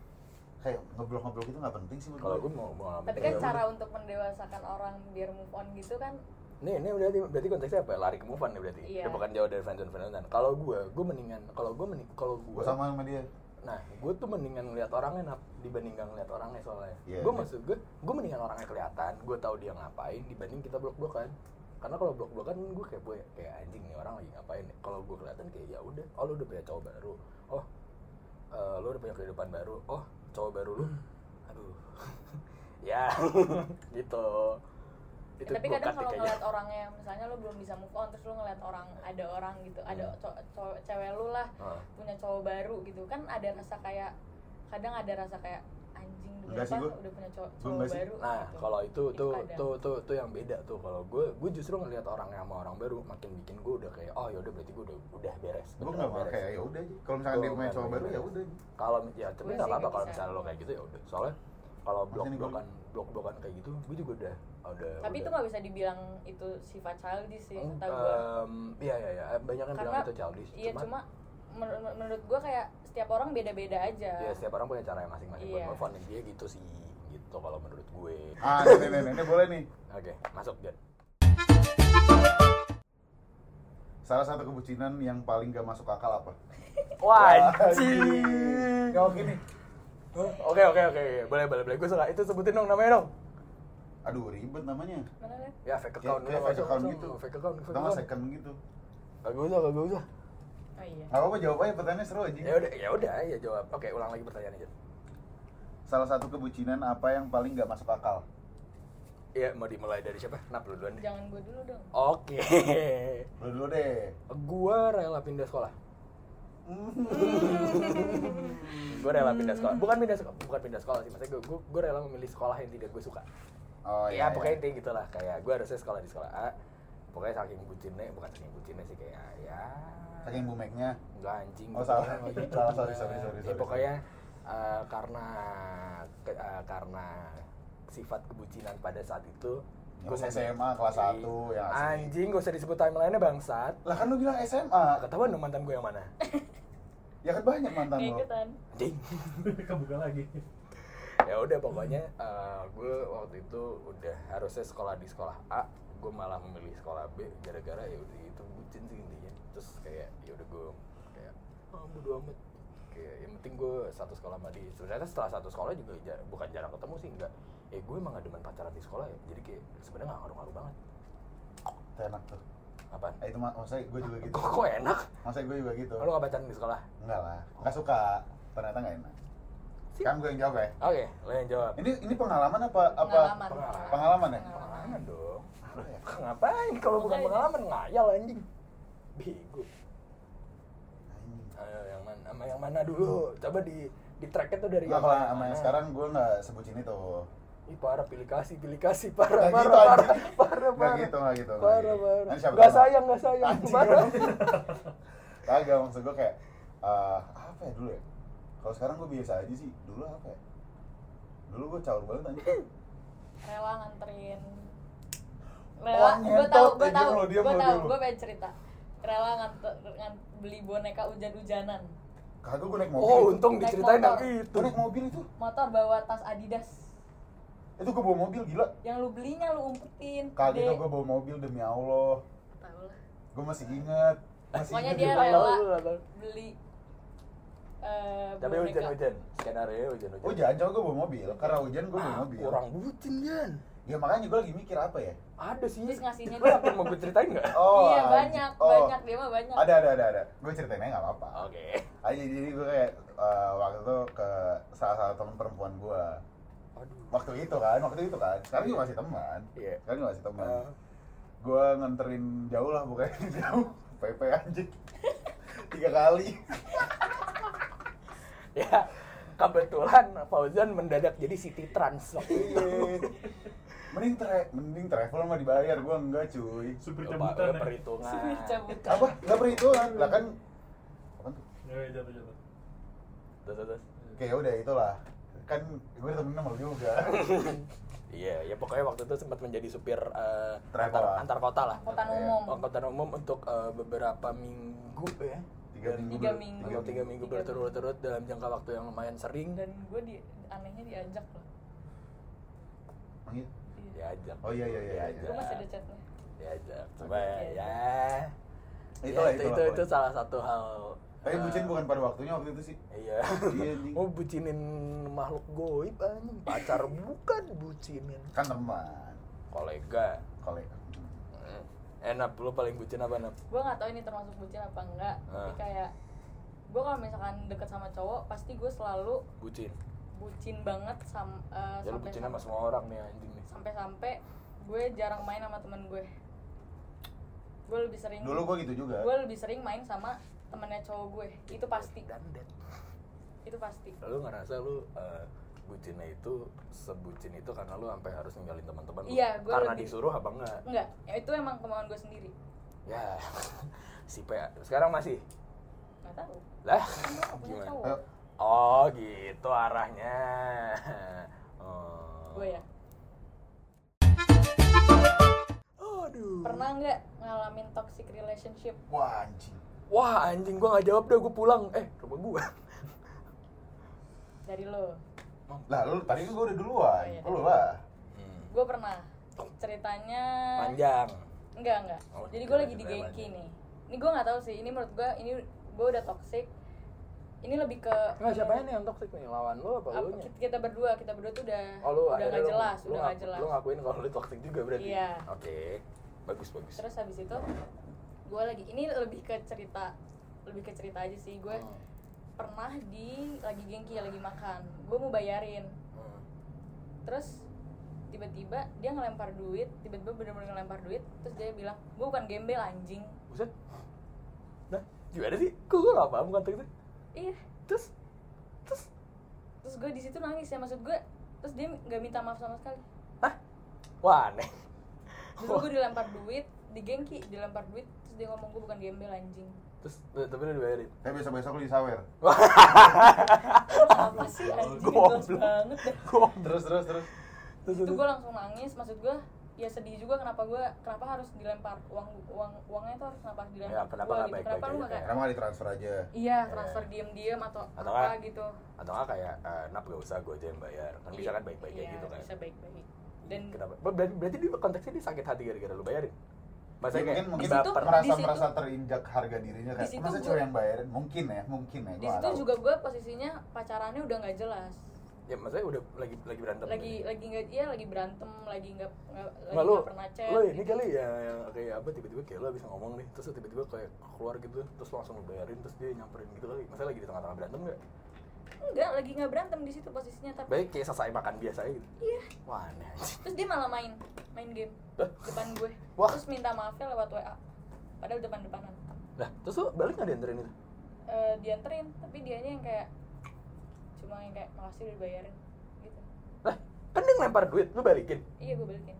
A: kayak ngeblok-ngeblok itu nggak penting sih menurut
B: Kalau
A: gua.
B: gue mau mau ngapain?
D: tapi
A: Iya,
D: kan cara untuk mendewasakan orang biar move on gitu kan
B: Nih, ini berarti berarti konteksnya apa? ya? Lari ke move on nih berarti.
D: Iya.
B: Dia bukan jauh dari friendzone friendzone. Kalau gue, gue mendingan kalau gue mending kalau gue
A: Gue sama sama dia.
B: Nah, gue tuh mendingan ngeliat orangnya nap dibandingkan ngeliat orangnya soalnya.
A: Iya,
B: gue
A: iya.
B: maksud gue, gue mendingan orangnya kelihatan, gue tahu dia ngapain dibanding kita blok-blokan. Karena kalau blok-blokan gue kayak gue kayak anjing nih orang lagi ngapain. ya. Kalau gue kelihatan kayak ya udah, oh lu udah punya cowok baru. Oh, eh, lu udah punya kehidupan baru. Oh, cowok baru
A: Hmm.
B: lu. Aduh. ya, gitu.
D: Ya,
B: gua
D: tapi
B: cut deh
D: kadang kalau
B: kayaknya.
D: ngeliat orangnya misalnya lo belum bisa move on terus lo ngeliat orang ada orang gitu ada
A: Iya.
B: Hmm.
D: co- co- cewek lu lah
B: Ah.
D: punya cowok baru gitu kan ada rasa kayak kadang ada rasa kayak anjing demi
A: Enggak sih,
D: apa
A: gua.
D: udah punya cowok,
A: Gua
D: cowok
A: enggak sih.
D: baru
B: Nah,
D: gitu.
B: kalau itu
D: Itu
B: tuh
D: ada.
B: tuh tuh tuh yang beda tuh. Kalau gue gue justru ngelihat orang yang sama orang baru makin bikin gue udah kayak oh yaudah berarti gue udah udah beres.
A: Gue
B: beneran
A: nggak mau
B: beres.
A: kayak ya udah aja. Kalau misalkan
B: Gua
A: dia punya
B: nggak
A: cowok
B: mau
A: baru ya
B: beres.
A: udah.
B: Kalau ya tapi
D: Gua
B: nggak
D: sih
B: apa-apa
D: nggak
B: kalau
D: bisa.
B: misalnya lo kayak gitu ya udah. Soalnya kalau
A: Maksudnya
B: blok
A: nih gua-
B: blokan blok blokan kayak gitu gue juga udah udah.
D: tapi
B: ya udah.
D: itu nggak bisa dibilang itu sifat childish sih kata gue
B: Em, Iya iya iya banyak yang bilang
D: Karena-
B: itu childish.
D: iya cuma menur- menur- menurut gue kayak setiap orang beda-beda aja
B: ya setiap orang punya cara yang masing-masing buat
D: Iya.
B: move on dia gitu sih gitu kalau menurut gue.
A: Ah, nih, nih, nih, nih, nih, boleh nih.
B: Oke masuk Jan.
A: Salah satu kebucinan yang paling gak masuk akal apa?
B: Wajib.
A: Ya oke nih.
B: Oke oke oke oke. boleh boleh boleh gue suka itu sebutin dong namanya dong.
A: Aduh ribet namanya.
D: Mana liat?
B: Ya fake
A: Kayak
B: account
A: kayak fake
B: dulu, langsung,
A: account
B: langsung.
A: gitu.
B: Fake account, fake
A: Atau nggak
B: account.
A: second gitu.
B: Kagak usah, kagak usah.
D: oh iya
A: Gak apa-apa jawab aja pertanyaannya seru aja.
B: Ya udah, ya udah, ya jawab. Oke, ulang lagi pertanyaannya. Jon.
A: Salah satu kebucinan apa yang paling gak masuk akal?
B: Ya mau dimulai dari siapa? Nap lu duluan deh.
D: jangan gue dulu dong
A: Oh,
B: Oke.
A: Lu dulu deh.
B: gua rela pindah sekolah. Gua rela pindah sekolah. Bukan pindah sekolah, bukan pindah sekolah sih. Maksudnya gua, gua, gua rela memilih sekolah yang tidak gua suka.
A: Oh
B: ya, pokoknya intinya gitu lah. Kayak gua harusnya sekolah di sekolah A. Pokoknya saking bucinnya, bukan saking bucinnya sih kayak ya.
A: Saking bumeknya.
B: Enggak anjing.
A: Oh, salah.
B: Gitu.
A: Salah, sorry, sorry, sorry,
B: Ya,
A: sorry.
B: pokoknya eh, karena ke- eh, karena sifat kebucinan pada saat itu.
A: Ya,
B: gua
A: pas
B: ngomong-
A: SMA kelas
B: Iya.
A: satu, ya asik.
B: Anjing, gak usah disebut timelinenya bangsat.
A: Lah kan lu bilang SMA.
B: Nah, ketahuan dong mantan gue yang mana.
A: Ya kan banyak mantan
D: Kayak
A: lo.
D: ikutan
B: Anjing.
C: Kebuka lagi.
B: ya udah pokoknya eh, gue waktu itu udah harusnya sekolah di sekolah A, gue malah memilih sekolah B gara-gara ya udah itu bucin sih intinya. Terus kayak ya udah gue kayak ah bodo amat. Kayak yang penting gue satu sekolah sama dia. Ternyata setelah satu sekolah juga jar- bukan jarang ketemu sih enggak. Eh ya. gue emang gak demen pacaran di sekolah ya. Jadi kayak sebenarnya gak ngaruh-ngaruh banget.
A: Tuh, Enak tuh.
E: Apaan?
A: Nah, itu mak maksudnya gue juga gitu.
E: Kok, kok enak?
A: Maksudnya gue juga gitu.
E: Lo gak bacaan di sekolah?
A: Enggak lah, nggak suka. Ternyata nggak enak. Sekarang gue yang jawab ya.
E: Oke, lo yang jawab.
A: Ini ini pengalaman apa apa?
D: pengalaman
A: Pengalaman ya?
E: Pengalaman dong.
A: Apa ya?
E: Ngapain kalau bukan
D: Makanya.
E: pengalaman ngayal anjing. Bego.
A: Anjing.
E: Ayo Eh, yang mana sama yang mana dulu? Coba di di tracknya tuh dari
A: Nggak Nah, kalau sama
E: mana.
A: yang sekarang gue nggak sebutin itu.
E: Ih parah pilih kasih, pilih kasih parah
A: Nggak
E: parah parah
A: gitu, anjing.
E: parah
A: Nggak
E: parah.
A: gitu, nggak gitu, nggak
E: Parah
A: gitu.
E: parah.
A: Nanti siapa
E: Gak
A: tahu.
E: sayang, gak sayang.
A: Anjing.
E: Parah.
A: Kagak maksud gue kayak eh, apa ya dulu ya? Kalau sekarang gue biasa aja sih. Dulu apa ya? Dulu gue caur banget anjing.
D: rela nganterin
A: Wah,
D: rela
A: Oh,
D: gue
A: ngentot,
D: tahu gue
A: anjing,
D: tahu
A: lu diam,
D: gue
A: lu
D: tahu
A: diam, lu.
D: gue pengen cerita rela nganter ngan- beli boneka hujan-hujanan
A: Kagak gue naik mobil.
E: Oh,
A: itu.
E: untung
D: Naik
E: diceritain yang
D: motor.
E: itu.
A: Gue naik mobil itu.
D: motor bawa tas Adidas
A: Itu gue bawa mobil gila.
D: yang lu belinya lu umpetin
A: Kagak itu
D: gede.
A: gue bawa mobil demi Allah.
D: Tahu lah.
A: Gue masih inget. Masih
D: Pokoknya
A: inget
D: dia
A: dulu.
D: rela
E: Tahu, kan. tahu.
D: beli eh,
B: Tapi
D: boneka.
B: hujan-hujan, skenario hujan-hujan.
A: Hujan, coba gue Oh, bawa mobil. Karena hujan gue bawa
E: Ah,
A: mobil.
E: Kurang bucin kan.
A: Ya makanya gue lagi mikir apa ya?
E: Ada sih.
D: Terus ngasihnya
E: Lo yakin mau gue ceritain nggak?
D: iya
A: anj-
D: banyak
A: oh.
D: banyak dia mah banyak
A: Ada ada ada ada. Gue ceritainnya nggak apa-apa.
B: Oke.
A: Aja jadi gue kayak eh, waktu itu ke salah satu teman perempuan gue.
E: Aduh.
A: Waktu itu kan, waktu itu kan. Sekarang juga masih teman.
E: Iya.
A: Sekarang juga masih teman.
E: Eh,
A: Gue nganterin jauh lah bukan jauh. PP anjing. Tiga kali.
E: ya kebetulan Fauzan mendadak jadi city trans waktu itu.
A: Iya. mending tra mending travel mah dibayar gua enggak cuy
C: Supir
B: Lupa,
C: cabutan
B: gue
C: ya.
B: perhitungan.
D: Sini dicabutin.
A: apa nggak perhitungan lah kan apa tuh
C: Ya, ya, jatuh, jatuh.
B: Terus, terus, terus.
A: Oke, udah itulah kan gue temen sama lu juga
E: Iya, ya pokoknya waktu itu sempat menjadi supir eh,
A: Travel
E: antar,
A: lah.
E: antar kota lah.
D: angkutan
A: Iya.
D: umum
E: Angkutan umum untuk eh, beberapa minggu ya.
A: tiga minggu
D: Tiga
A: ber-
D: minggu.
E: Atau tiga minggu
D: Tiga
E: berturut-turut dalam jangka waktu yang lumayan sering
D: dan gue di anehnya diajak loh
A: Emang iya?
D: Iya.
B: diajak.
A: oh iya iya iya, iya.
D: gue masih ada chatnya
B: Diajak. Coba
D: Oke.
B: ya.
A: itulah
E: Ya, itu,
A: itulah
E: itu, itu
A: pokoknya.
E: salah satu hal
A: tapi
E: eh,
A: bucin bukan pada waktunya waktu itu sih
B: Iya.
A: iya anjing.
E: Oh bucinin makhluk goib anjing pacar bukan bucinin
A: kan teman
B: Kolega.
A: kolega
B: Hmm. Enak, lu paling bucin apa Nap?
D: gue nggak tahu ini termasuk bucin apa enggak tapi
B: Ah.
D: kayak gue kalau misalkan deket sama cowok pasti gue selalu
B: Bucin.
D: bucin banget sam, eh,
B: Ya lu
D: sampai
B: bucin sama semua orang nih anjing nih.
D: sampai sampai gue jarang main sama temen gue gue lebih sering
A: dulu gue gitu juga
D: gue lebih sering main sama temennya cowok gue itu pasti
E: dan dan
D: itu pasti
B: Lu ngerasa lu eh, bucinnya itu sebucin itu karena lu sampai harus ninggalin teman-teman lu?
D: Iya, gua
B: karena
D: lebih-
B: disuruh apa enggak?
D: enggak ya itu emang kemauan gue sendiri
B: Ya. si P sekarang masih.
D: nggak tahu
B: Lah,
D: Kan gua nggak punya
B: Gimana?
D: cowok
A: Ayo,
B: Oh gitu arahnya. Oh.
D: gue ya
E: Aduh.
D: pernah nggak ngalamin toxic relationship
A: wah anjing
E: Wah anjing gua nggak jawab deh gua pulang. Eh rumah gua.
D: dari lo
A: lah lu tadi kan gue udah duluan
D: Oh, iya.
A: lu lah
B: Hmm.
D: gue pernah ceritanya
B: Panjang.
D: enggak enggak
B: Oh,
D: jadi gue
B: ceritanya
D: lagi di
B: ceritanya
D: gengki
B: panjang.
D: nih ini gue nggak tahu sih ini menurut gue ini gue udah toxic ini lebih ke
E: Nggak siapa ini yang toksik nih lawan lu apa
D: apa,
E: lu nya?
D: kita, kita berdua kita berdua tuh udah
E: Oh lu
D: udah
E: akhirnya
D: nggak
E: lu-
D: jelas
E: lu
D: udah nggak
E: ngaku-
D: jelas
E: Lu ngakuin kalau lu toksik juga berarti.
D: Iya.
B: Oke. Bagus bagus.
D: terus habis itu gue lagi ini lebih ke cerita lebih ke cerita aja sih gue
E: Hmm.
D: pernah di lagi gengki lagi makan gue mau bayarin
E: Hmm.
D: terus tiba-tiba dia ngelempar duit tiba-tiba bener-bener ngelempar duit terus dia bilang gue bukan gembel anjing
E: Buset. Nah, gimana sih? Kok gua nggak paham konteks itu?
D: iya
E: Terus terus
D: terus gue di situ nangis ya maksud gue terus dia nggak minta maaf sama sekali
E: Hah? Wah, aneh.
D: terus gue dilempar duit digengki dilempar duit terus dia ngomong gue bukan gembel anjing
E: Terus
B: eh,
E: tapi lu dibayarin.
A: tapi besok besok lu disawer
D: Lu apa sih anjing
E: Goblok.
D: jelas banget deh
A: terus terus terus
E: Terus
D: itu gue langsung nangis maksud gue ya sedih juga kenapa gue kenapa harus dilempar uang uang uangnya itu harus kenapa harus dilempar
B: Ya,
D: ke
B: kenapa
D: gua
B: nggak
D: gitu
B: baik-baik
D: kenapa lu
B: aja
D: nggak kayak
A: kenapa nggak ditransfer aja
D: iya transfer diem diem atau,
B: Atau
D: apa
B: nggak-
D: gitu
B: Atau enggak kayak eh, nap gak usah gue aja yang bayar. Kan bisa kan baik-baik kayak
D: Iya,
B: gitu kan. Iya,
D: bisa baik baik dan
B: Kenapa? Ber- Berarti, berarti dia konteksnya dia sakit hati gara-gara lu bayarin.
A: Ya,
B: Maksudnya kayak
A: mungkin mungkin
D: Di situ-
A: merasa
D: di situ-
A: merasa terinjak harga dirinya
D: Di
A: kayak
D: situ
A: masa
D: gua-
A: cewek yang bayarin mungkin ya mungkin ya
D: di
A: gua nggak
D: situ
A: tahu.
D: juga gue posisinya pacarannya udah nggak jelas
B: ya maksudnya udah lagi lagi berantem
D: lagi
B: gitu.
D: lagi nggak iya lagi berantem lagi nggak nggak- lagi gitu.
B: Nggak, lo,
D: nggak pernah chat
B: lo ini kali ya yang kayak apa tiba-tiba kayak lo bisa ngomong nih terus lo tiba-tiba kayak keluar gitu terus lo langsung lo bayarin terus dia nyamperin gitu kali maksudnya lagi di tengah-tengah berantem nggak
D: enggak lagi nggak berantem di situ posisinya tapi
B: baik kayak selesai makan biasa aja gitu
D: iya
B: wah aneh anjing.
D: terus dia malah main main game depan gue
B: Wah.
D: terus minta maafnya lewat wa padahal depan depanan
B: lah terus lo balik nggak dianterin itu
D: Eh dianterin tapi dianya yang kayak cuma yang kayak makasih udah dibayarin gitu
B: lah kan dia ngelempar duit lo balikin
D: iya gue balikin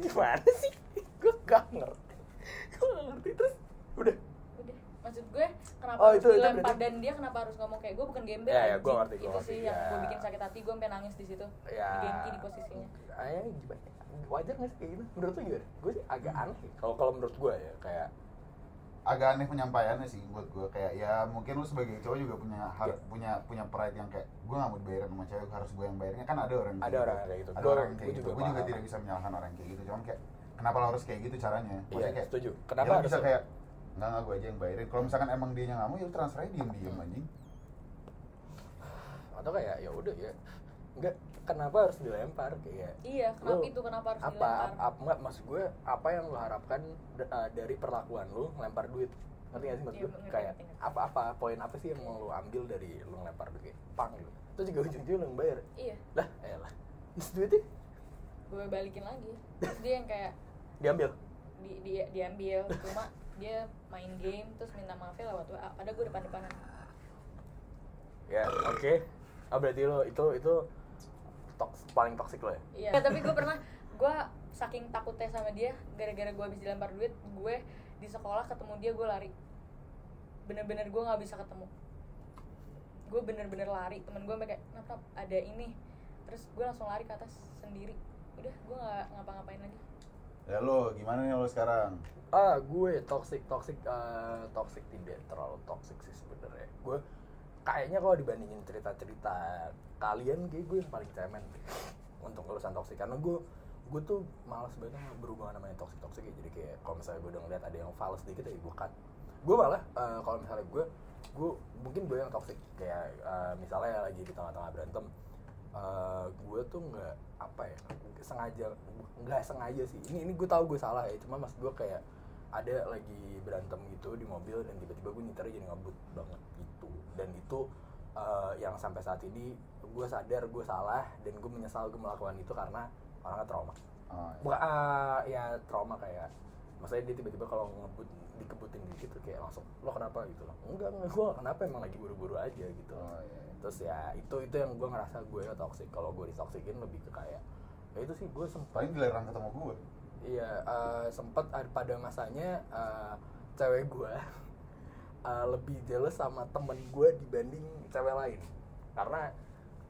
B: gimana sih gue gak ngerti gue gak ngerti terus udah
D: udah maksud gue kenapa
B: Oh,
D: harus
B: itu- itu
D: dilempar
B: berarti-
D: dan dia kenapa harus ngomong kayak gue bukan gembel
B: Ya, ya,
D: anjing."
B: gue ngerti, gue
D: itu
B: ngerti,
D: sih yang
B: ya.
D: gue bikin sakit hati gue sampai nangis di situ
B: ya
D: di gengki di posisinya
B: Ayah gimana wajar nggak sih kayak gitu menurut lo gimana gue sih agak aneh kalau kalau menurut gue ya kayak
A: agak aneh penyampaiannya sih buat gue kayak ya mungkin lu sebagai cowok juga punya har-
B: Iya.
A: punya punya pride yang kayak gue gak mau dibayarin sama cewek harus gue yang bayarnya kan ada orang yang
B: Ada
A: kayak
B: orang
A: gitu.
B: kayak gitu.
A: ada
B: Gua-
A: orang yang kayak
B: gua
A: gitu
B: juga
A: gue juga
B: paham.
A: tidak bisa menyalahkan orang kayak gitu cuman kayak kenapa lo harus kayak gitu caranya
B: Iya,
A: kayak,
B: setuju.
A: kenapa
B: Kenapa
A: ya lu
B: harus
A: bisa
B: lo-
A: kayak nggak nggak gue aja yang bayarin kalau misalkan emang dia nggak mau ya lu transfer aja diem
B: Hmm.
A: diem anjing
B: atau kayak ya udah ya nggak kenapa harus dilempar kayak
D: iya kenapa
B: Lo
D: itu kenapa harus
B: apa
D: dilempar
B: apa nggak maksud gue apa yang lo harapkan d- eh, dari perlakuan lo ngelempar duit ngerti gak sih maksud
D: Iya,
B: gue
D: ngerti,
B: kayak
D: ngerti, ngerti.
B: apa apa poin apa sih yang mau lo ambil dari lo ngelempar duit kayak pang gitu terus juga ujung-ujungnya lo yang bayar
D: iya
B: lah elah terus duitnya
D: gue balikin lagi terus dia yang kayak
B: diambil
D: di, di, diambil cuma dia main game terus minta maafnya lewat wa ada gue depan depanan
B: ya oke ah berarti lo itu itu toks, paling toksik lo ya
D: iya tapi gue pernah gue saking takutnya sama dia gara-gara gue habis dilempar duit gue di sekolah ketemu dia gue lari bener-bener gue nggak bisa ketemu gue bener-bener lari temen gue sampai kayak "Nap, nap, ada ini terus gue langsung lari ke atas sendiri udah gue nggak ngapa-ngapain lagi
A: ya lo gimana nih lo sekarang
B: ah gue toxic toxic eh, toxic tidak terlalu toxic sih sebenarnya gue kayaknya kalau dibandingin cerita-cerita kalian kayak gue yang paling cemen untuk urusan toxic karena gue gue tuh malas banget sama berhubungan namanya toxic toxic ya jadi kayak kalau misalnya gue udah ngeliat ada yang fals dikit ya gue cut gue malah eh, kalau misalnya gue gue mungkin gue yang toxic kayak eh, misalnya lagi di tengah-tengah berantem eh, gue tuh nggak apa ya sengaja nggak sengaja sih ini ini gue tahu gue salah ya cuma mas gue kayak ada lagi berantem gitu di mobil dan tiba-tiba gue nyetir jadi ngebut banget gitu dan itu eh, yang sampai saat ini gue sadar gue salah dan gue menyesal gue melakukan itu karena orangnya trauma
A: Oh, ya.
B: Bukan, ah, ya trauma kayak Maksudnya dia tiba-tiba kalau ngebut dikebutin gitu kayak langsung lo kenapa gitu loh enggak enggak gue kenapa emang lagi buru-buru aja gitu
A: Oh, iya, iya.
B: terus ya itu itu yang gue ngerasa gue toxic kalau gue ditoksikin lebih ke kayak ya itu sih gue sempat
A: paling dilarang ketemu gue
B: iya eh, sempat ad- pada masanya eh, cewek gue eh, lebih jealous sama temen gue dibanding cewek lain karena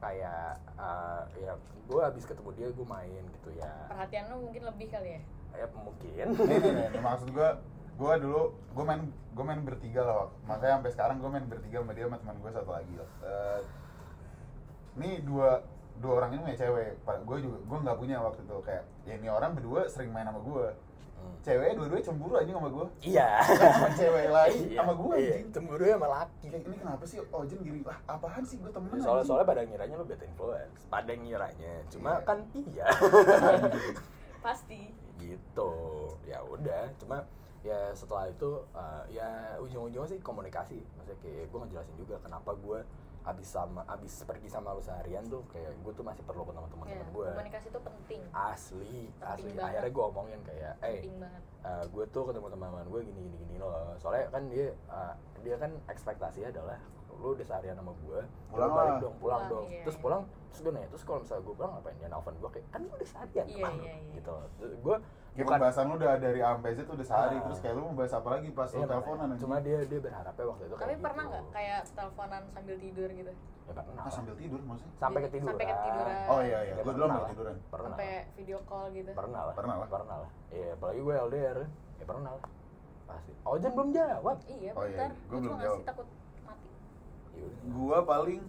B: kayak eh, ya gue habis ketemu dia gue main gitu ya
D: perhatian lu mungkin lebih kali ya
B: ya mungkin
A: nih, nih, nih, nih, maksud gue gue dulu gue main gue main bertiga lah Wak. makanya sampai sekarang gue main bertiga sama dia sama teman gue satu lagi lah Eh, ini dua dua orang ini punya cewek gue juga gue nggak punya waktu itu kayak ya ini orang berdua sering main sama gue ceweknya dua-dua cemburu aja sama gue
B: Hmm. iya
A: sama cewek lain
B: Iya,
A: sama gue
B: iya.
A: anjing.
B: cemburu sama laki
A: Kayak, Iya, ini kenapa sih Ojen gini ah apaan sih gue temen
B: Iya, soalnya
A: anjing.
B: soalnya pada ngiranya lu bad influence pada ngiranya cuma
A: Iya.
B: kan iya
D: pasti
B: gitu ya udah cuma ya setelah itu eh, ya ujung-ujungnya sih komunikasi maksudnya kayak gue ngejelasin juga kenapa gue abis sama abis pergi sama lu seharian tuh kayak gue tuh masih perlu ketemu
D: ya,
B: teman-teman gue
D: komunikasi itu penting
B: asli asli
D: banget.
B: akhirnya gue omongin kayak eh
D: penting banget
B: eh, gue tuh ketemu teman-teman gue gini gini gini loh soalnya kan dia eh, dia kan ekspektasinya adalah lu udah seharian sama gue
A: Pulang
B: balik
A: lah.
B: dong pulang,
D: Pulang,
B: dong
D: iya,
B: terus
D: iya.
B: pulang terus gue nanya terus kalau misalnya gue pulang ngapain dia nelfon gue kayak kan lu udah seharian
D: Iya,
B: kemana?"
D: iya, iya.
B: gitu loh. Terus gue
A: kayak pembahasan lu udah dari A sampai Z udah sehari
B: Ah.
A: terus kayak lu mau bahas apa lagi pas lu
B: Iya,
A: teleponan anjing.
B: cuma dia dia berharapnya waktu itu kayak
D: tapi pernah
B: gitu.
D: nggak kayak teleponan sambil tidur gitu
B: ya, pernah
A: ah sambil tidur maksudnya
B: sampai
D: Jadi,
B: ketiduran
D: sampai ketiduran.
A: oh iya iya gue
B: Ya, pernah
A: dulu sambil
B: lah.
A: tiduran
B: pernah
D: sampai video call gitu
B: pernah lah
A: Pernah lah.
B: pernah lah iya apalagi gue LDR ya pernah lah pasti Ojen belum jawab
D: iya
A: Oh, iya,
D: bentar
A: gua
D: gue
A: belum
D: cuma ngasih
A: jawab.
D: takut mati
B: Ya udah.
A: gua paling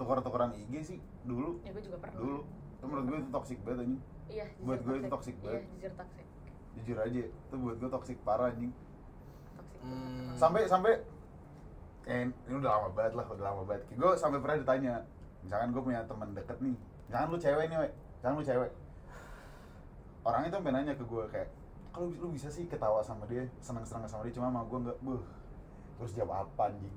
A: tukar-tukaran IG sih dulu
D: ya gue juga pernah
A: dulu itu menurut gue itu toxic banget anjing
D: iya
A: Buat
D: jujur
A: gua itu toxic banget.
D: iya jujur toxic
A: jujur aja itu buat gue toxic parah anjing
D: toxic
B: Hmm.
A: sampai sampai eh, ini udah lama banget lah udah lama banget gue sampai pernah ditanya misalkan gue punya teman deket nih misalkan lu cewek nih we misalkan lu cewek orang itu sampai nanya ke gue kayak kalau lu bisa sih ketawa sama dia seneng seneng sama dia cuma sama gue nggak buh terus jawab apa anjing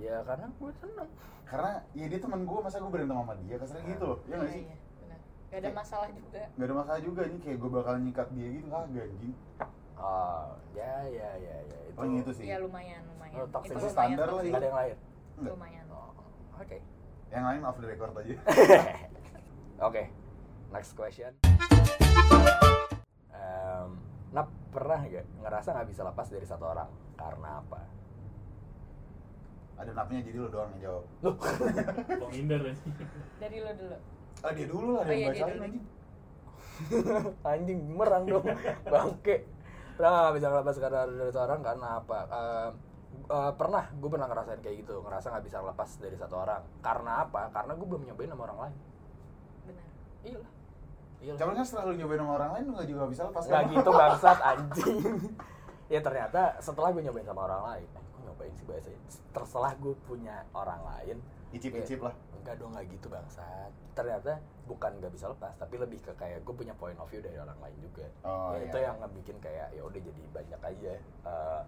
B: ya karena gue seneng
A: karena ya dia teman gue masa gue berantem sama dia kasarnya gitu loh ya nggak sih Eh.
D: Iya, benar. Gak ada masalah juga.
A: nggak ada masalah juga nih kayak gue bakal nyikat dia gitu ah ganjing
B: oh ya ya ya ya itu
A: paling itu Oh, gitu sih
D: Ya lumayan, lumayan.
B: Oh, toxic
D: lumayan,
A: standar lah ya.
B: nggak ada yang lain
A: Nggak.
D: Lumayan.
B: oh, oke
A: yang lain off the record aja
B: Oke, next question. Em, Nap pernah gak ngerasa nggak bisa lepas dari satu orang karena apa?
A: ada napnya jadi lu doang yang jawab
C: Kok minder ya sih?
D: Dari lo dulu.
A: ah dia dulu lah
D: Oh,
A: dia
D: iya,
A: yang
D: dia
A: bacain
D: dulu.
A: anjing
B: Anjing merang dong, bangke. Nah, bisa lepas karena dari satu orang karena apa? Em, eh, pernah, gue pernah ngerasain kayak gitu, ngerasa nggak bisa lepas dari satu orang. Karena apa? Karena gue belum nyobain sama orang lain.
D: Benar.
B: Iya lah. Iya lah.
A: Cuman kan setelah lu nyobain sama orang lain lu gak juga bisa lepas
B: Nggak
A: kan?
B: gitu bangsat anjing. ya ternyata setelah gue nyobain sama orang lain, eh, gue nyobain sih bahasa terselah gue punya orang lain,
A: Icip-icip lah
B: enggak dong nggak gitu bangsat. Ternyata bukan nggak bisa lepas, tapi lebih ke kayak gue punya point of view dari orang lain juga.
A: Oh, iya.
B: ya, Itu yang ngebikin kayak ya udah jadi banyak aja eh,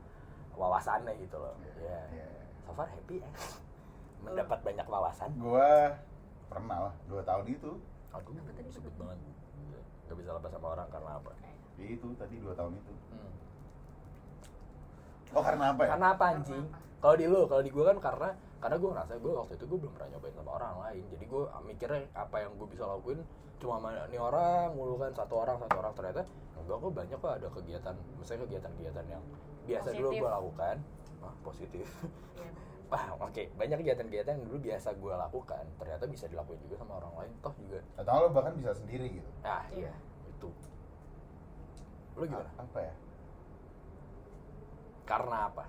B: wawasannya gitu loh. Ya.
A: Iya.
B: So far happy ya. Mendapat banyak wawasan.
A: Gua pernah lah, 2 tahun itu
B: Aduh, sebut banget. Gak bisa lepas sama orang karena apa?
A: Ya itu, tadi 2 tahun itu
B: Hmm.
A: Oh karena apa ya?
B: Karena apa anjing? Kalau di lu, kalau di gue kan karena karena gue ngerasa gue waktu itu gue belum pernah nyobain sama orang lain. Jadi gue mikirnya apa yang gue bisa lakuin cuma sama ini orang mulu kan satu orang satu orang ternyata enggak gue banyak kok ada kegiatan misalnya kegiatan-kegiatan yang biasa dulu
D: Positif.
B: gue lakukan Wah, positif
D: Iya.
B: wah oke banyak kegiatan-kegiatan yang dulu biasa gue lakukan ternyata bisa dilakuin juga sama orang lain toh juga
A: Atau lo bahkan bisa sendiri gitu
B: nah iya
D: Iya.
B: itu lu gimana
A: A- Apa ya?
B: karena apa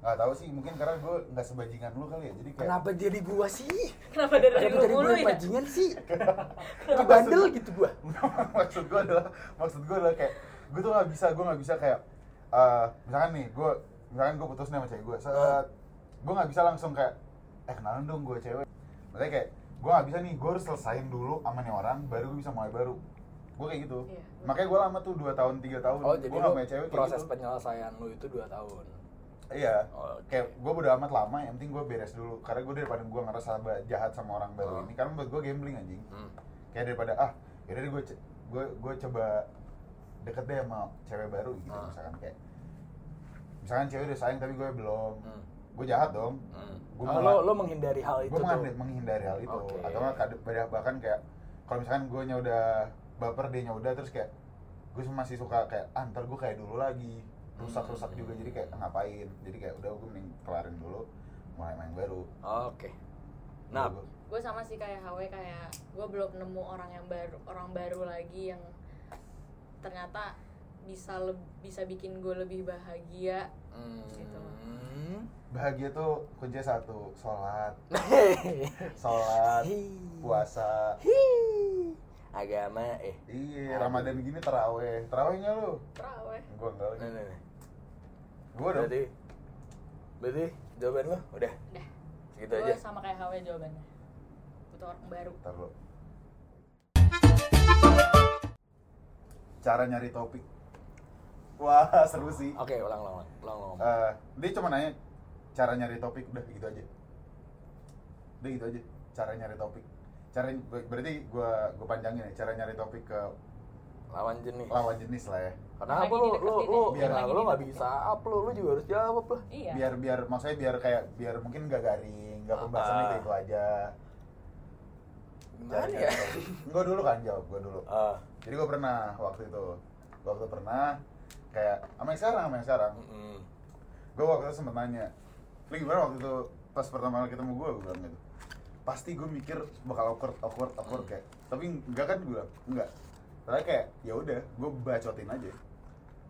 A: Gak tau sih, mungkin karena gue gak sebajingan lu kali ya Jadi kayak
B: kenapa jadi gue sih
D: Kenapa dari
B: Kenapa
D: lu
B: dari
D: mulu
B: gue
D: ya?
B: bajingan sih? Kebandel gitu gue
A: maksud gue adalah maksud gue adalah kayak gue tuh nggak bisa gue nggak bisa kayak eh, misalkan nih gue misalkan gue putus nih sama cewek gue saat gue nggak bisa langsung kayak eh kenalan dong gue cewek maksudnya kayak gue nggak bisa nih gue harus selesain dulu sama nih orang baru gue bisa mulai baru gue kayak gitu
D: Iya.
A: makanya gue lama tuh 2 tahun 3 tahun
B: Oh
A: gue
B: jadi
A: nggak
B: lu
A: punya cewek kayak
B: proses
A: gitu
B: penyelesaian lu itu 2 tahun
A: iya
B: Oke.
A: kayak gue udah amat lama yang penting gue beres dulu karena gue daripada gue ngerasa ba- jahat sama orang baru
B: Hmm.
A: ini karena buat gue gambling anjing
B: Hmm.
A: kayak daripada ah yaudah gue gue gue coba deket deh sama cewek baru gitu
B: Ah.
A: misalkan kayak misalkan cewek udah sayang tapi gue belum
B: Hmm.
A: gue jahat dong
B: Hmm.
A: Gua
B: Oh,
A: malah-
B: lo, lo menghindari hal itu
A: gue
B: tuh
A: menghindari hal itu
B: Oke.
A: atau nggak kad- pada- bahkan kayak kalau misalkan gue nya udah baper dia nya udah terus kayak gue masih suka kayak ah, ntar gue kayak dulu lagi rusak
B: Hmm.
A: rusak juga jadi kayak "Ah, ngapain jadi kayak udah gue mending kelarin dulu mulai main baru
B: Oke Nah
A: Gua-
D: gue sama sih kayak HW kayak gue belum nemu orang yang baru orang baru lagi yang ternyata bisa leb- bisa bikin gue lebih bahagia
B: hmm.
D: Gitu.
A: bahagia tuh kunci satu sholat sholat puasa
B: Hii. Agama eh
A: Iya,
B: Aduh.
A: Ramadan gini teraweh. Teraweh nggak lu?
D: teraweh
A: Gua enggak
B: Nah,
A: lagi.
B: nah, nah.
A: Gua dong.
B: Berarti Berarti jawaban lo udah
D: udah
B: segitu
D: gue
B: aja
D: sama kayak HW jawabannya butuh orang baru
A: Ntar lu. Cara nyari topik. Wah, seru sih.
B: Oke ulang ulang ulang ulang ulang.
A: Eh, dia cuma nanya cara nyari topik udah gitu aja. Udah gitu aja cara nyari topik. Cara ber- berarti gua gua panjangin ya cara nyari topik ke
B: Lawan jenis
A: lawan jenis lah ya.
B: Kenapa
D: Lagi
B: lo
D: dideketin
B: lo
D: ya.
B: lo
A: Biar-
B: kenapa
D: lagi
B: lo nggak
D: dideketin.
B: bisa up lo lo juga harus jawab lah
D: iya
A: Biar biar maksudnya biar kayak biar mungkin gak garing, gak pembahasannya
B: Ah.
A: kayak itu aja.
B: Gimana
A: Cara nyari
B: ya?
A: topik. Gua dulu kan jawab gua dulu.
B: Ah,
A: jadi gue pernah waktu itu waktu pernah kayak sama yang sekarang sama yang sekarang
B: mm-mm.
A: gue waktu itu sempet nanya lu gimana waktu itu pas pertama kali ketemu gue gue bilang gitu pasti gue mikir bakal awkward awkward awkward kayak tapi enggak kan gue bilang enggak ternyata kayak ya udah gue bacotin aja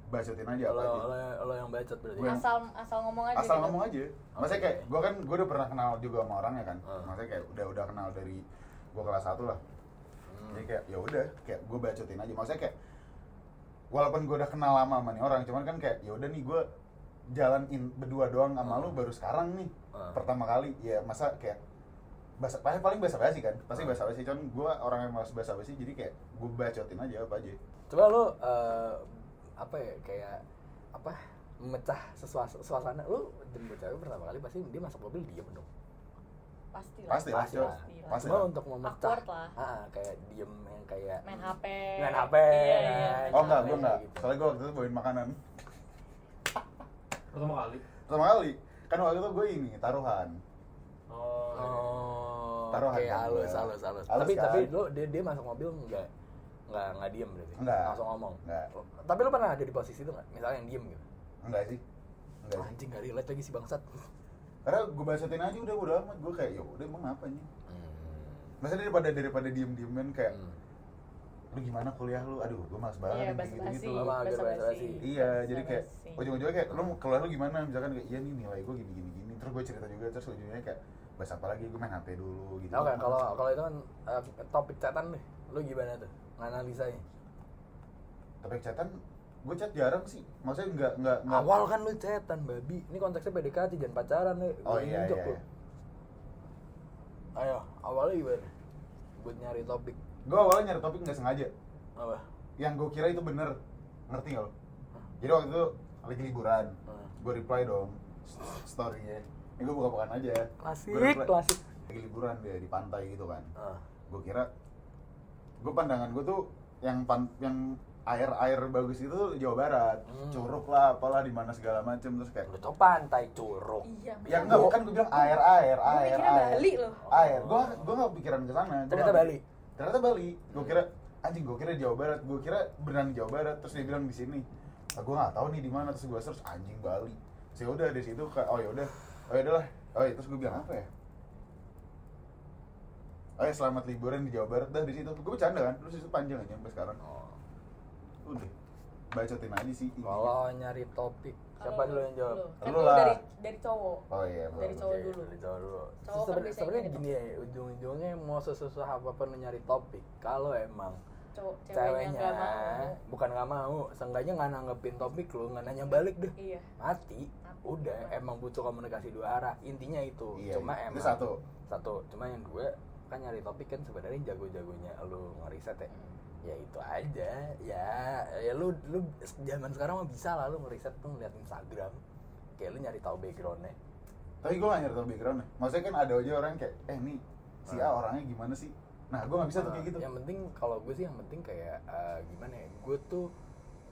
A: bacotin aja apa
B: Ya, Lo,
A: aja
B: lo, lo yang bacot berarti.
A: Gua-
D: asal asal ngomong aja
A: asal
D: gitu.
A: ngomong aja maksudnya kayak gue kan gue udah pernah kenal juga sama orangnya kan
B: Hmm.
A: maksudnya kayak udah udah kenal dari gue kelas 1 lah
B: Mm.
A: jadi kayak ya udah kayak gue bacotin aja maksudnya kayak walaupun gue udah kenal lama sama nih orang cuman kan kayak ya udah nih gue jalan in- berdua doang sama
B: Hmm.
A: lu baru sekarang nih
B: Hmm.
A: pertama kali ya masa kayak bahasa paling paling bahasa basi kan pasti
B: Hmm.
A: bahasa basi cuman gue orang yang malas bahasa basi jadi kayak gue bacotin aja apa aja
B: Coba lo eh, apa ya kayak apa memecah sesuas- suasana lu jemput cewek pertama kali pasti dia masuk mobil diam dong.
D: pasti lah
A: pasti lah
B: Pasti
A: cuy
B: lah.
A: pasti
B: Cuma
A: lah.
B: untuk memecah
D: Awkward lah.
B: Ah, ah, kayak diem yang kayak
D: main HP
B: Main HP,
D: iya,
B: kan.
D: iya, main
A: oh enggak
D: HP.
A: gue enggak
B: gitu.
A: soalnya gue waktu itu bawain makanan
C: Pertama kali.
A: pertama kali kan waktu itu gue ini taruhan
C: Oh.
B: Oh,
A: Taruhan
B: kayak
A: kan
B: halus,
A: gua.
B: halus, halus.
A: Halus
B: Tapi
A: kan?
B: tapi lo dia, dia masuk mobil enggak enggak enggak diem berarti.
A: Enggak.
B: Langsung ngomong.
A: Enggak.
B: Tapi lo pernah ada di posisi itu enggak? Misalnya yang diem gitu.
A: enggak sih enggak sih
B: Anjing enggak relate lagi si bangsat.
A: karena gue bacotin aja udah udah amat gue kayak ya udah emang apa nih
B: Hmm.
A: maksudnya daripada daripada diem dieman kayak lu gimana kuliah lu aduh gue malas banget
D: iya
A: nih, kayak
D: basi basi
A: gitu-gitu.
B: Sama agar basa-basi.
A: Iya, jadi kayak ujung-ujungnya kayak lu mau keluar lu gimana? Misalkan kayak iya nih nilai gue gini gini gini. Terus gue cerita juga terus ujungnya kayak bahas apa lagi gue main HP dulu gitu.
B: Oke, kalau kalau itu kan eh, topik catatan deh. Lo gimana tuh? Analisanya.
A: tapi chatan gue chat jarang sih. Maksudnya enggak enggak enggak
B: Awal kan lo chatan babi. Ini konteksnya PDKT jangan pacaran deh.
A: Oh iya iya. iya.
B: Ayo, awalnya gimana? Buat nyari topik
A: Gue awalnya nyari topik nggak sengaja.
B: apa?
A: Yang gue kira itu bener. Ngerti nggak lo? Jadi waktu itu lagi liburan,
B: Hmm.
A: gue reply dong s- story-nya. Ini gue buka-bukaan aja.
B: Klasik,
A: Gua reply-
B: klasik.
A: Lagi liburan dia di pantai gitu kan.
B: Ah.
A: gue kira gue pandangan gue tuh yang pan, yang air air bagus itu tuh Jawa Barat
B: Hmm.
A: curug lah apalah di mana segala macem terus kayak
B: Lu tuh pantai curug.
D: iya
A: ya enggak bukan gue bilang air air
D: Gua
A: air
D: mikirnya
A: air
D: Bali loh.
A: air gue gue nggak pikiran ke sana Gua
B: Ternyata
A: nggak-
B: Bali.
A: ternyata Bali gue kira anjing gue kira Jawa Barat gue kira beneran Jawa Barat terus dia bilang di sini ah, gue nggak tahu nih di mana terus gue search anjing Bali sih udah dari situ kayak oh ya udah oh ya udahlah oh ya terus gue bilang apa ya oh ya selamat liburan di Jawa Barat dah di situ gue bercanda kan terus itu panjang aja sampai sekarang
B: Oh.
A: udah bacotin aja sih intinya.
B: Kalau nyari topik, siapa dulu yang jawab?
D: Lu. kan
A: Lu
D: lu
A: lah.
D: dari dari cowok
A: oh iya gua-
D: Dari cowok
B: Oke,
D: dulu.
B: dari Cowok dulu.
D: Cowok
B: Seben-
D: kan biasanya
B: Sebenarnya
D: nyari
B: gini ya, ujung-ujungnya mau sesusah apapun nyari topik. Kalau emang
D: cowok ceweknya
B: ceweknya
D: nggak mau
B: bukan nggak mau, seenggaknya nggak nanggepin topik lu, nggak nanya balik deh.
D: iya
B: Mati, udah emang butuh komunikasi dua arah. Intinya itu.
A: Iya,
B: Cuma
A: iya. Itu
B: emang
A: satu.
B: Satu. Cuma yang dua kan nyari topik kan sebenarnya jago-jagonya lu ngeriset ya. ya itu aja ya ya lu lu zaman sekarang mah bisa lah lu ngeriset tuh ngeliat Instagram kayak lu nyari tahu backgroundnya
A: tapi gue gak nyari tau backgroundnya maksudnya kan ada aja orang kayak eh nih si A orangnya gimana sih nah gue gak bisa tuh kayak gitu
B: yang penting kalau gue sih yang penting kayak eh, gimana ya gue tuh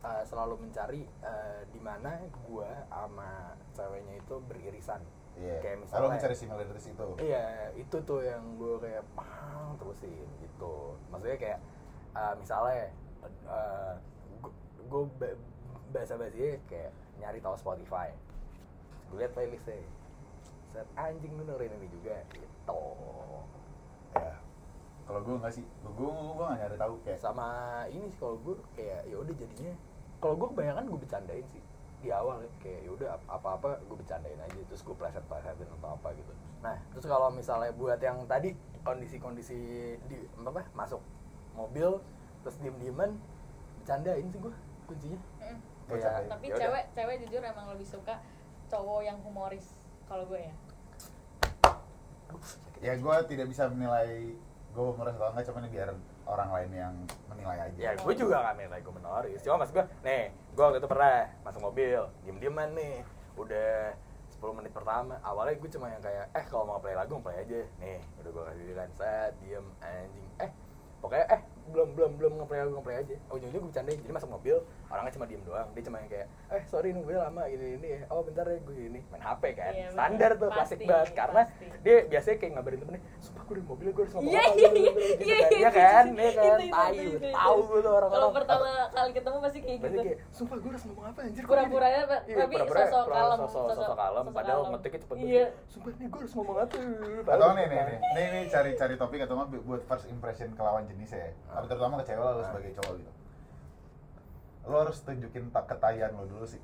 B: eh, selalu mencari eh, di mana gue sama ceweknya itu beririsan
A: Iya.
B: kayak
A: Kalau
B: misalnya
A: mencari similarities itu.
B: Iya, itu tuh yang gue kayak pang terusin gitu. Maksudnya kayak eh, misalnya eh, gue bahasa bahasanya kayak nyari tahu Spotify. Gue liat playlistnya. Set anjing lu dengerin ini juga gitu.
A: Ya. Kalau gue nggak sih, gue gue gue nggak nyari tahu kayak.
B: Sama ini sih kalau gue kayak ya udah jadinya kalau gue kebanyakan gue bercandain sih di awal ya, kayak yaudah ap- apa-apa gue bercandain aja terus gue pleset-plesetin atau apa gitu nah terus kalau misalnya buat yang tadi kondisi-kondisi di apa masuk mobil terus diem-dieman bercandain sih gue kuncinya Ya
D: Mm-mm.
A: Kayak-
D: tapi
B: yaudah.
D: cewek cewek jujur emang lebih suka cowok yang humoris kalau gue ya
B: Aduh, sakit.
A: Ya gue tidak bisa menilai gue merasa atau nggak, cuman biar orang lain yang menilai aja.
B: ya gue juga gak nilai gue menoris cuma mas gue nih gue waktu itu pernah masuk mobil diem-dieman nih udah 10 menit pertama awalnya gue cuma yang kayak eh kalau mau play lagu play aja nih udah gue kasih kan set diem anjing eh pokoknya eh belum belum belum ngeplay lagu ngeplay aja ujung-ujungnya gue bercandain jadi masuk mobil orangnya cuma diem doang dia cuma yang kayak eh sorry nunggu lama ini ini oh bentar ya gue ini main hp kan
D: Iya, bener.
B: standar tuh klasik
D: Pasti,
B: banget karena
D: pasti.
B: dia biasanya kayak ngabarin temennya sumpah gue di mobil gue harus ngomong
D: Iya,
B: apa
D: iya,
B: gitu,
D: iya,
B: gitu,
D: iya,
B: kan.
D: iya,
B: Iya kan
D: iya,
B: iya
D: iya,
B: kan
D: iya,
B: tahu
D: iya, iya,
B: tahu
D: iya.
B: gue tuh
D: kalau
B: orang-orang
D: pertama kali ketemu pasti kayak
B: Berarti
D: gitu
B: kayak, sumpah gue harus ngomong apa anjir Iya,
D: Pura-puranya, Pak. Tapi sosok kalem,
B: Sosok,
D: sosok-
B: sosok kalem,
D: sosok
B: padahal
D: kalem.
B: ngetiknya cepet
D: Iya.
B: banget Sumpah nih gue harus ngomong apa
A: Atau nih nih nih nih nih cari cari topik atau nggak buat first impression ke lawan jenisnya ya. Tapi terutama ke cewek lah, lo
B: Ah.
A: sebagai cowok gitu. Lo harus tunjukin tak ketayaan lo dulu sih.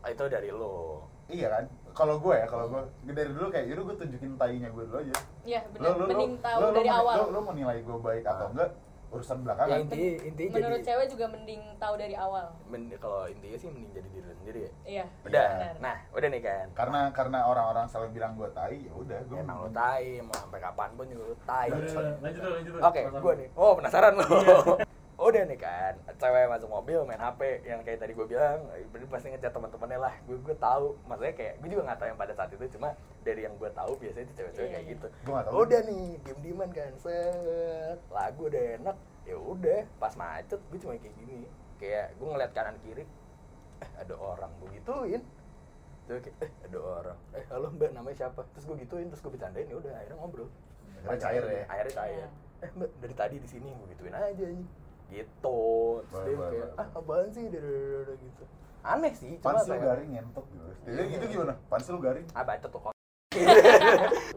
B: Ah, Itu dari lo
A: Iya kan? Kalau gue ya, kalau gue dari dulu kayak, yaudah gue tunjukin tainya gue dulu aja.
D: iya
A: Lo
D: benar
A: lo lo
D: mending tahu
A: lo- lo
D: dari
A: mau-
D: awal
A: Lo, lo mau nilai gue baik atau
B: Ah.
A: enggak? urusan
B: ya
A: belakangan
B: intinya intinya jadi
D: menurut cewek juga mending tahu dari awal
B: men- kalau intinya sih mending jadi diri sendiri ya
D: iya
B: udah
D: benar.
B: nah udah nih kan
A: karena karena orang-orang selalu bilang gue tai ya udah gue
B: emang lo tai mau sampai kapanpun juga lo tai
C: Udah, udah, lanjut dulu, lanjut Iya. dulu.
B: Oke,
C: Pertama.
B: gue nih. Oh penasaran lo. Udah nih kan, cewek masuk mobil main HP yang kayak tadi gue bilang, bener pasti ngejar teman-temannya lah. Gue gue tahu, maksudnya kayak gue juga nggak tahu yang pada saat itu, cuma dari yang gue tahu biasanya itu cewek-cewek
D: Iya,
B: kayak
D: iya.
B: gitu.
A: Gua nggak tahu.
B: Udah nih, diem-dieman kan, set lagu udah enak, ya udah. Pas macet, gue cuma kayak gini, kayak gue ngeliat kanan kiri, eh, ada orang gue gituin. Terus kayak, eh, ada orang, eh halo mbak namanya siapa? Terus gue gituin, terus gue bercandain, ya udah akhirnya ngobrol
A: Akhirnya cair ya?
B: akhirnya cair
D: Iya.
B: eh mbak dari tadi di sini gue gituin aja nih gitu terus
A: Boleh,
B: dia
A: boleh,
B: kayak
A: boleh.
B: ah apaan sih dadadadada gitu aneh sih cuma
A: Pansi lu
B: kayak,
A: garing ngentot gitu. Jadi
B: Iya.
A: itu gimana? Pansi lu garing.
B: ah bacot tuh kok iya,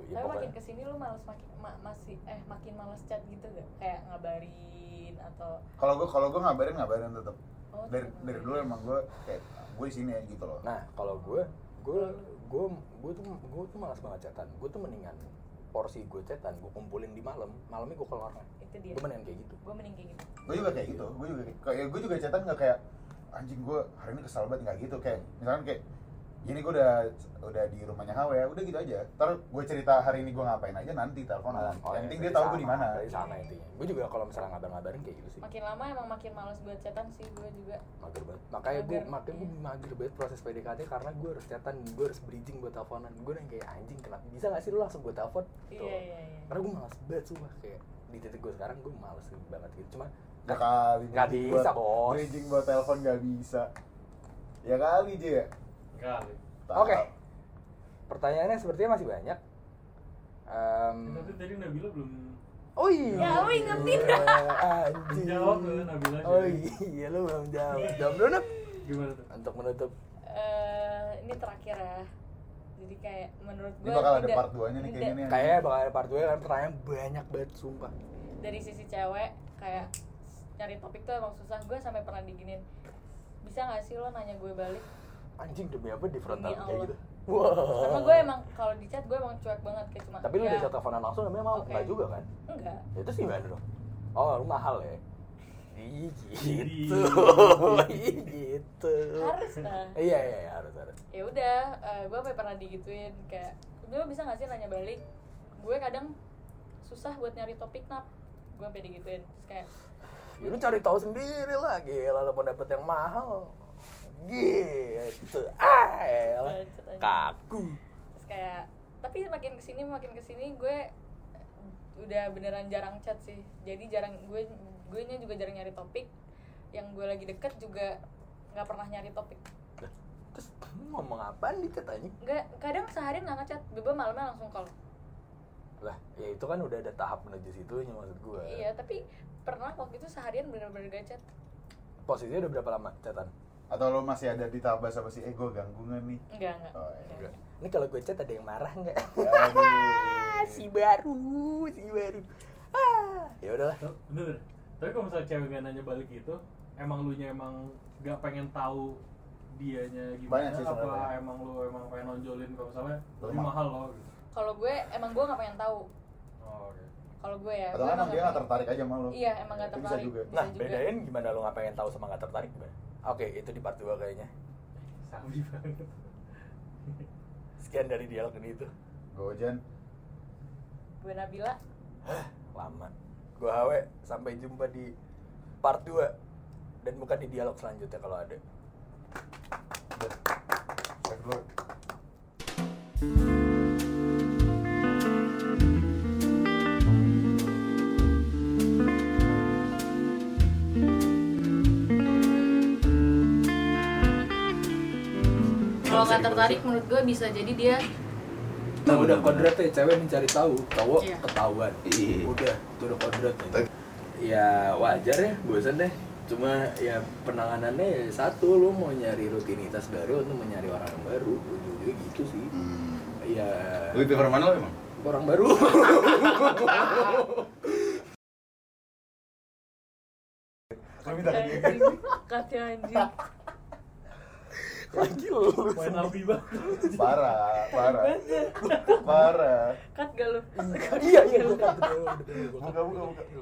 B: gitu,
D: tapi makin kesini lu males makin ma- masih eh makin males chat gitu gak kayak ngabarin atau
A: Kalau gue kalau gue ngabarin ngabarin tetap.
D: Oh,
A: Dari
D: tetep.
A: dari dulu emang gue kayak gue di sini ya gitu loh.
B: nah kalau gue gue gue gue tuh gue tuh malas banget chatan gue tuh mendingan porsi gue chatan gue kumpulin di malam malamnya gue keluar
D: itu dia
B: gue mendingan kayak gitu
D: gue mending kayak gitu
A: gue juga kayak gitu gue juga kayak- kayak gue juga catatan nggak kayak anjing gue hari ini kesal banget nggak gitu kayak misalkan kayak ini gue udah udah di rumahnya Hawa ya udah gitu aja terus gue cerita hari ini gue ngapain aja nanti teleponan nah, yang
B: Oh, ya,
A: penting
B: jadi
A: dia tahu gue di
B: sama,
A: mana
B: jadi sama intinya ya. gue juga kalau misalnya ngabar-ngabarin kayak gitu sih
D: makin lama emang makin males buat chatan sih gue juga
B: mager banget makanya gue
D: Mager,
B: makanya gue
D: iya.
B: mager banget proses PDKT karena gue harus chatan gue harus bridging buat teleponan gue yang kayak anjing kenapa bisa gak sih lu langsung gue telepon Tuh.
D: iya iya iya
B: karena gue malas banget sumpah kayak di titik gue sekarang gue malas banget gitu cuma
A: Gak kali
B: Nggak
A: bridging
B: bisa,
A: buat-
B: Bos.
A: bridging buat telepon gak bisa ya kali dia
C: Kali.
B: Oke. pertanyaannya sepertinya masih banyak Em,
C: Tapi tadi Nabila belum
B: oh iya
D: Ya, lu ingetin.
B: anjing
C: Jawab lu, Nabila, jawab.
B: oh iya lu belum jawab jawab dulu Nab.
C: gimana tuh?
B: untuk menutup
D: Eh, ini terakhir ya jadi kayak menurut
A: Ini
D: gue
A: bakal ada part 2 nya nih kayaknya nih
B: kayaknya bakal ada part 2 kan pertanyaan banyak banget sumpah
A: ya.
D: dari sisi cewek kayak nyari topik tuh emang susah gue sampai pernah diginin bisa gak sih lo nanya gue balik
B: anjing demi apa di frontal
D: Demi
B: kayak
D: Allah.
B: gitu Wah.
D: karena gue emang kalau di chat gue emang cuek banget kayak cuma
B: Tapi lu udah bisa teleponan langsung namanya mau
D: Oke.
B: enggak juga kan?
D: enggak
B: Ya terus gimana dong? Oh, lu mahal ya. Ih, gitu. Ih, gitu.
D: harus lah
B: Iya, iya, iya, harus harus.
D: ya udah gue sampai pernah digituin kayak lu bisa gak sih nanya balik gue kadang susah buat nyari topik nap gue sampai digituin terus kayak
B: Ya, lu cari tahu sendiri lah, gila lu mau dapet yang mahal. Gitu. Ah, elah.
D: Bacot aja.
B: Kaku.
D: terus kayak tapi makin kesini makin kesini gue udah beneran jarang chat sih jadi jarang gue gue nya juga jarang nyari topik yang gue lagi deket juga nggak pernah nyari topik
B: Lah, Terus lu ngomong apaan di chat anjing?
D: nggak kadang sehari nggak ngechat beba malamnya langsung call
B: Lah, ya itu kan udah ada tahap menuju situnya maksud gue.
D: iya tapi pernah waktu itu seharian bener-bener gak chat
B: Posisinya udah berapa lama chatan?
A: atau lo masih ada di tahap bahasa basi ego gangguan nih
D: enggak enggak
A: Oh,
D: Enggak.
B: Ini kalau gue chat ada yang marah nggak?
A: Aduh.
B: si baru, si baru. Ah, ya udahlah.
C: Tuh, Bener. bener. Tapi kalau misalnya cewek gak nanya balik gitu, emang lu nya emang gak pengen tahu dianya gimana
A: Banyak sih
C: apa
A: sebenarnya.
C: emang lu emang pengen nonjolin kalau misalnya
A: Lu
C: lebih
A: mah-
C: mahal loh gitu.
D: kalau gue emang gue nggak pengen tahu
C: Oh, oke.
D: kalau gue ya
A: atau
D: gue
A: kan
D: emang
A: dia
D: nggak
A: nggak tertarik aja sama lo
D: pengen- iya emang gak
A: Itu bisa
D: tertarik
A: juga.
D: Bisa
B: Nah,
D: juga.
B: bedain gimana lo nggak pengen tahu sama nggak tertarik gimana? Oke, itu di part 2 kayaknya.
C: Sabi banget.
B: Sekian dari dialog ini itu.
A: gojan
D: gue Nabila
B: Lama. Gua Hawe, sampai jumpa di part 2 dan bukan di dialog selanjutnya kalau ada.
A: udah Cek dulu.
D: kalau nggak tertarik menurut gue bisa jadi dia
B: Nah, udah kodrat ya cewek mencari tahu, cowok
D: Iya.
B: ketahuan. Udah, itu udah kodrat ya. Ya wajar ya, bosan deh. Cuma ya penanganannya ya satu lo mau nyari rutinitas baru, lo mau nyari orang baru, ujung-ujungnya gitu sih. Ya
A: Lebih prefer mana lo emang?
B: orang baru.
A: minta ke dia.
D: katanya anjing
B: Lagi lu.
C: Main sabi banget.
A: Parah, parah, parah.
D: cut gak lu
B: Iya iya. gua kan-
A: Buka, buka, buka.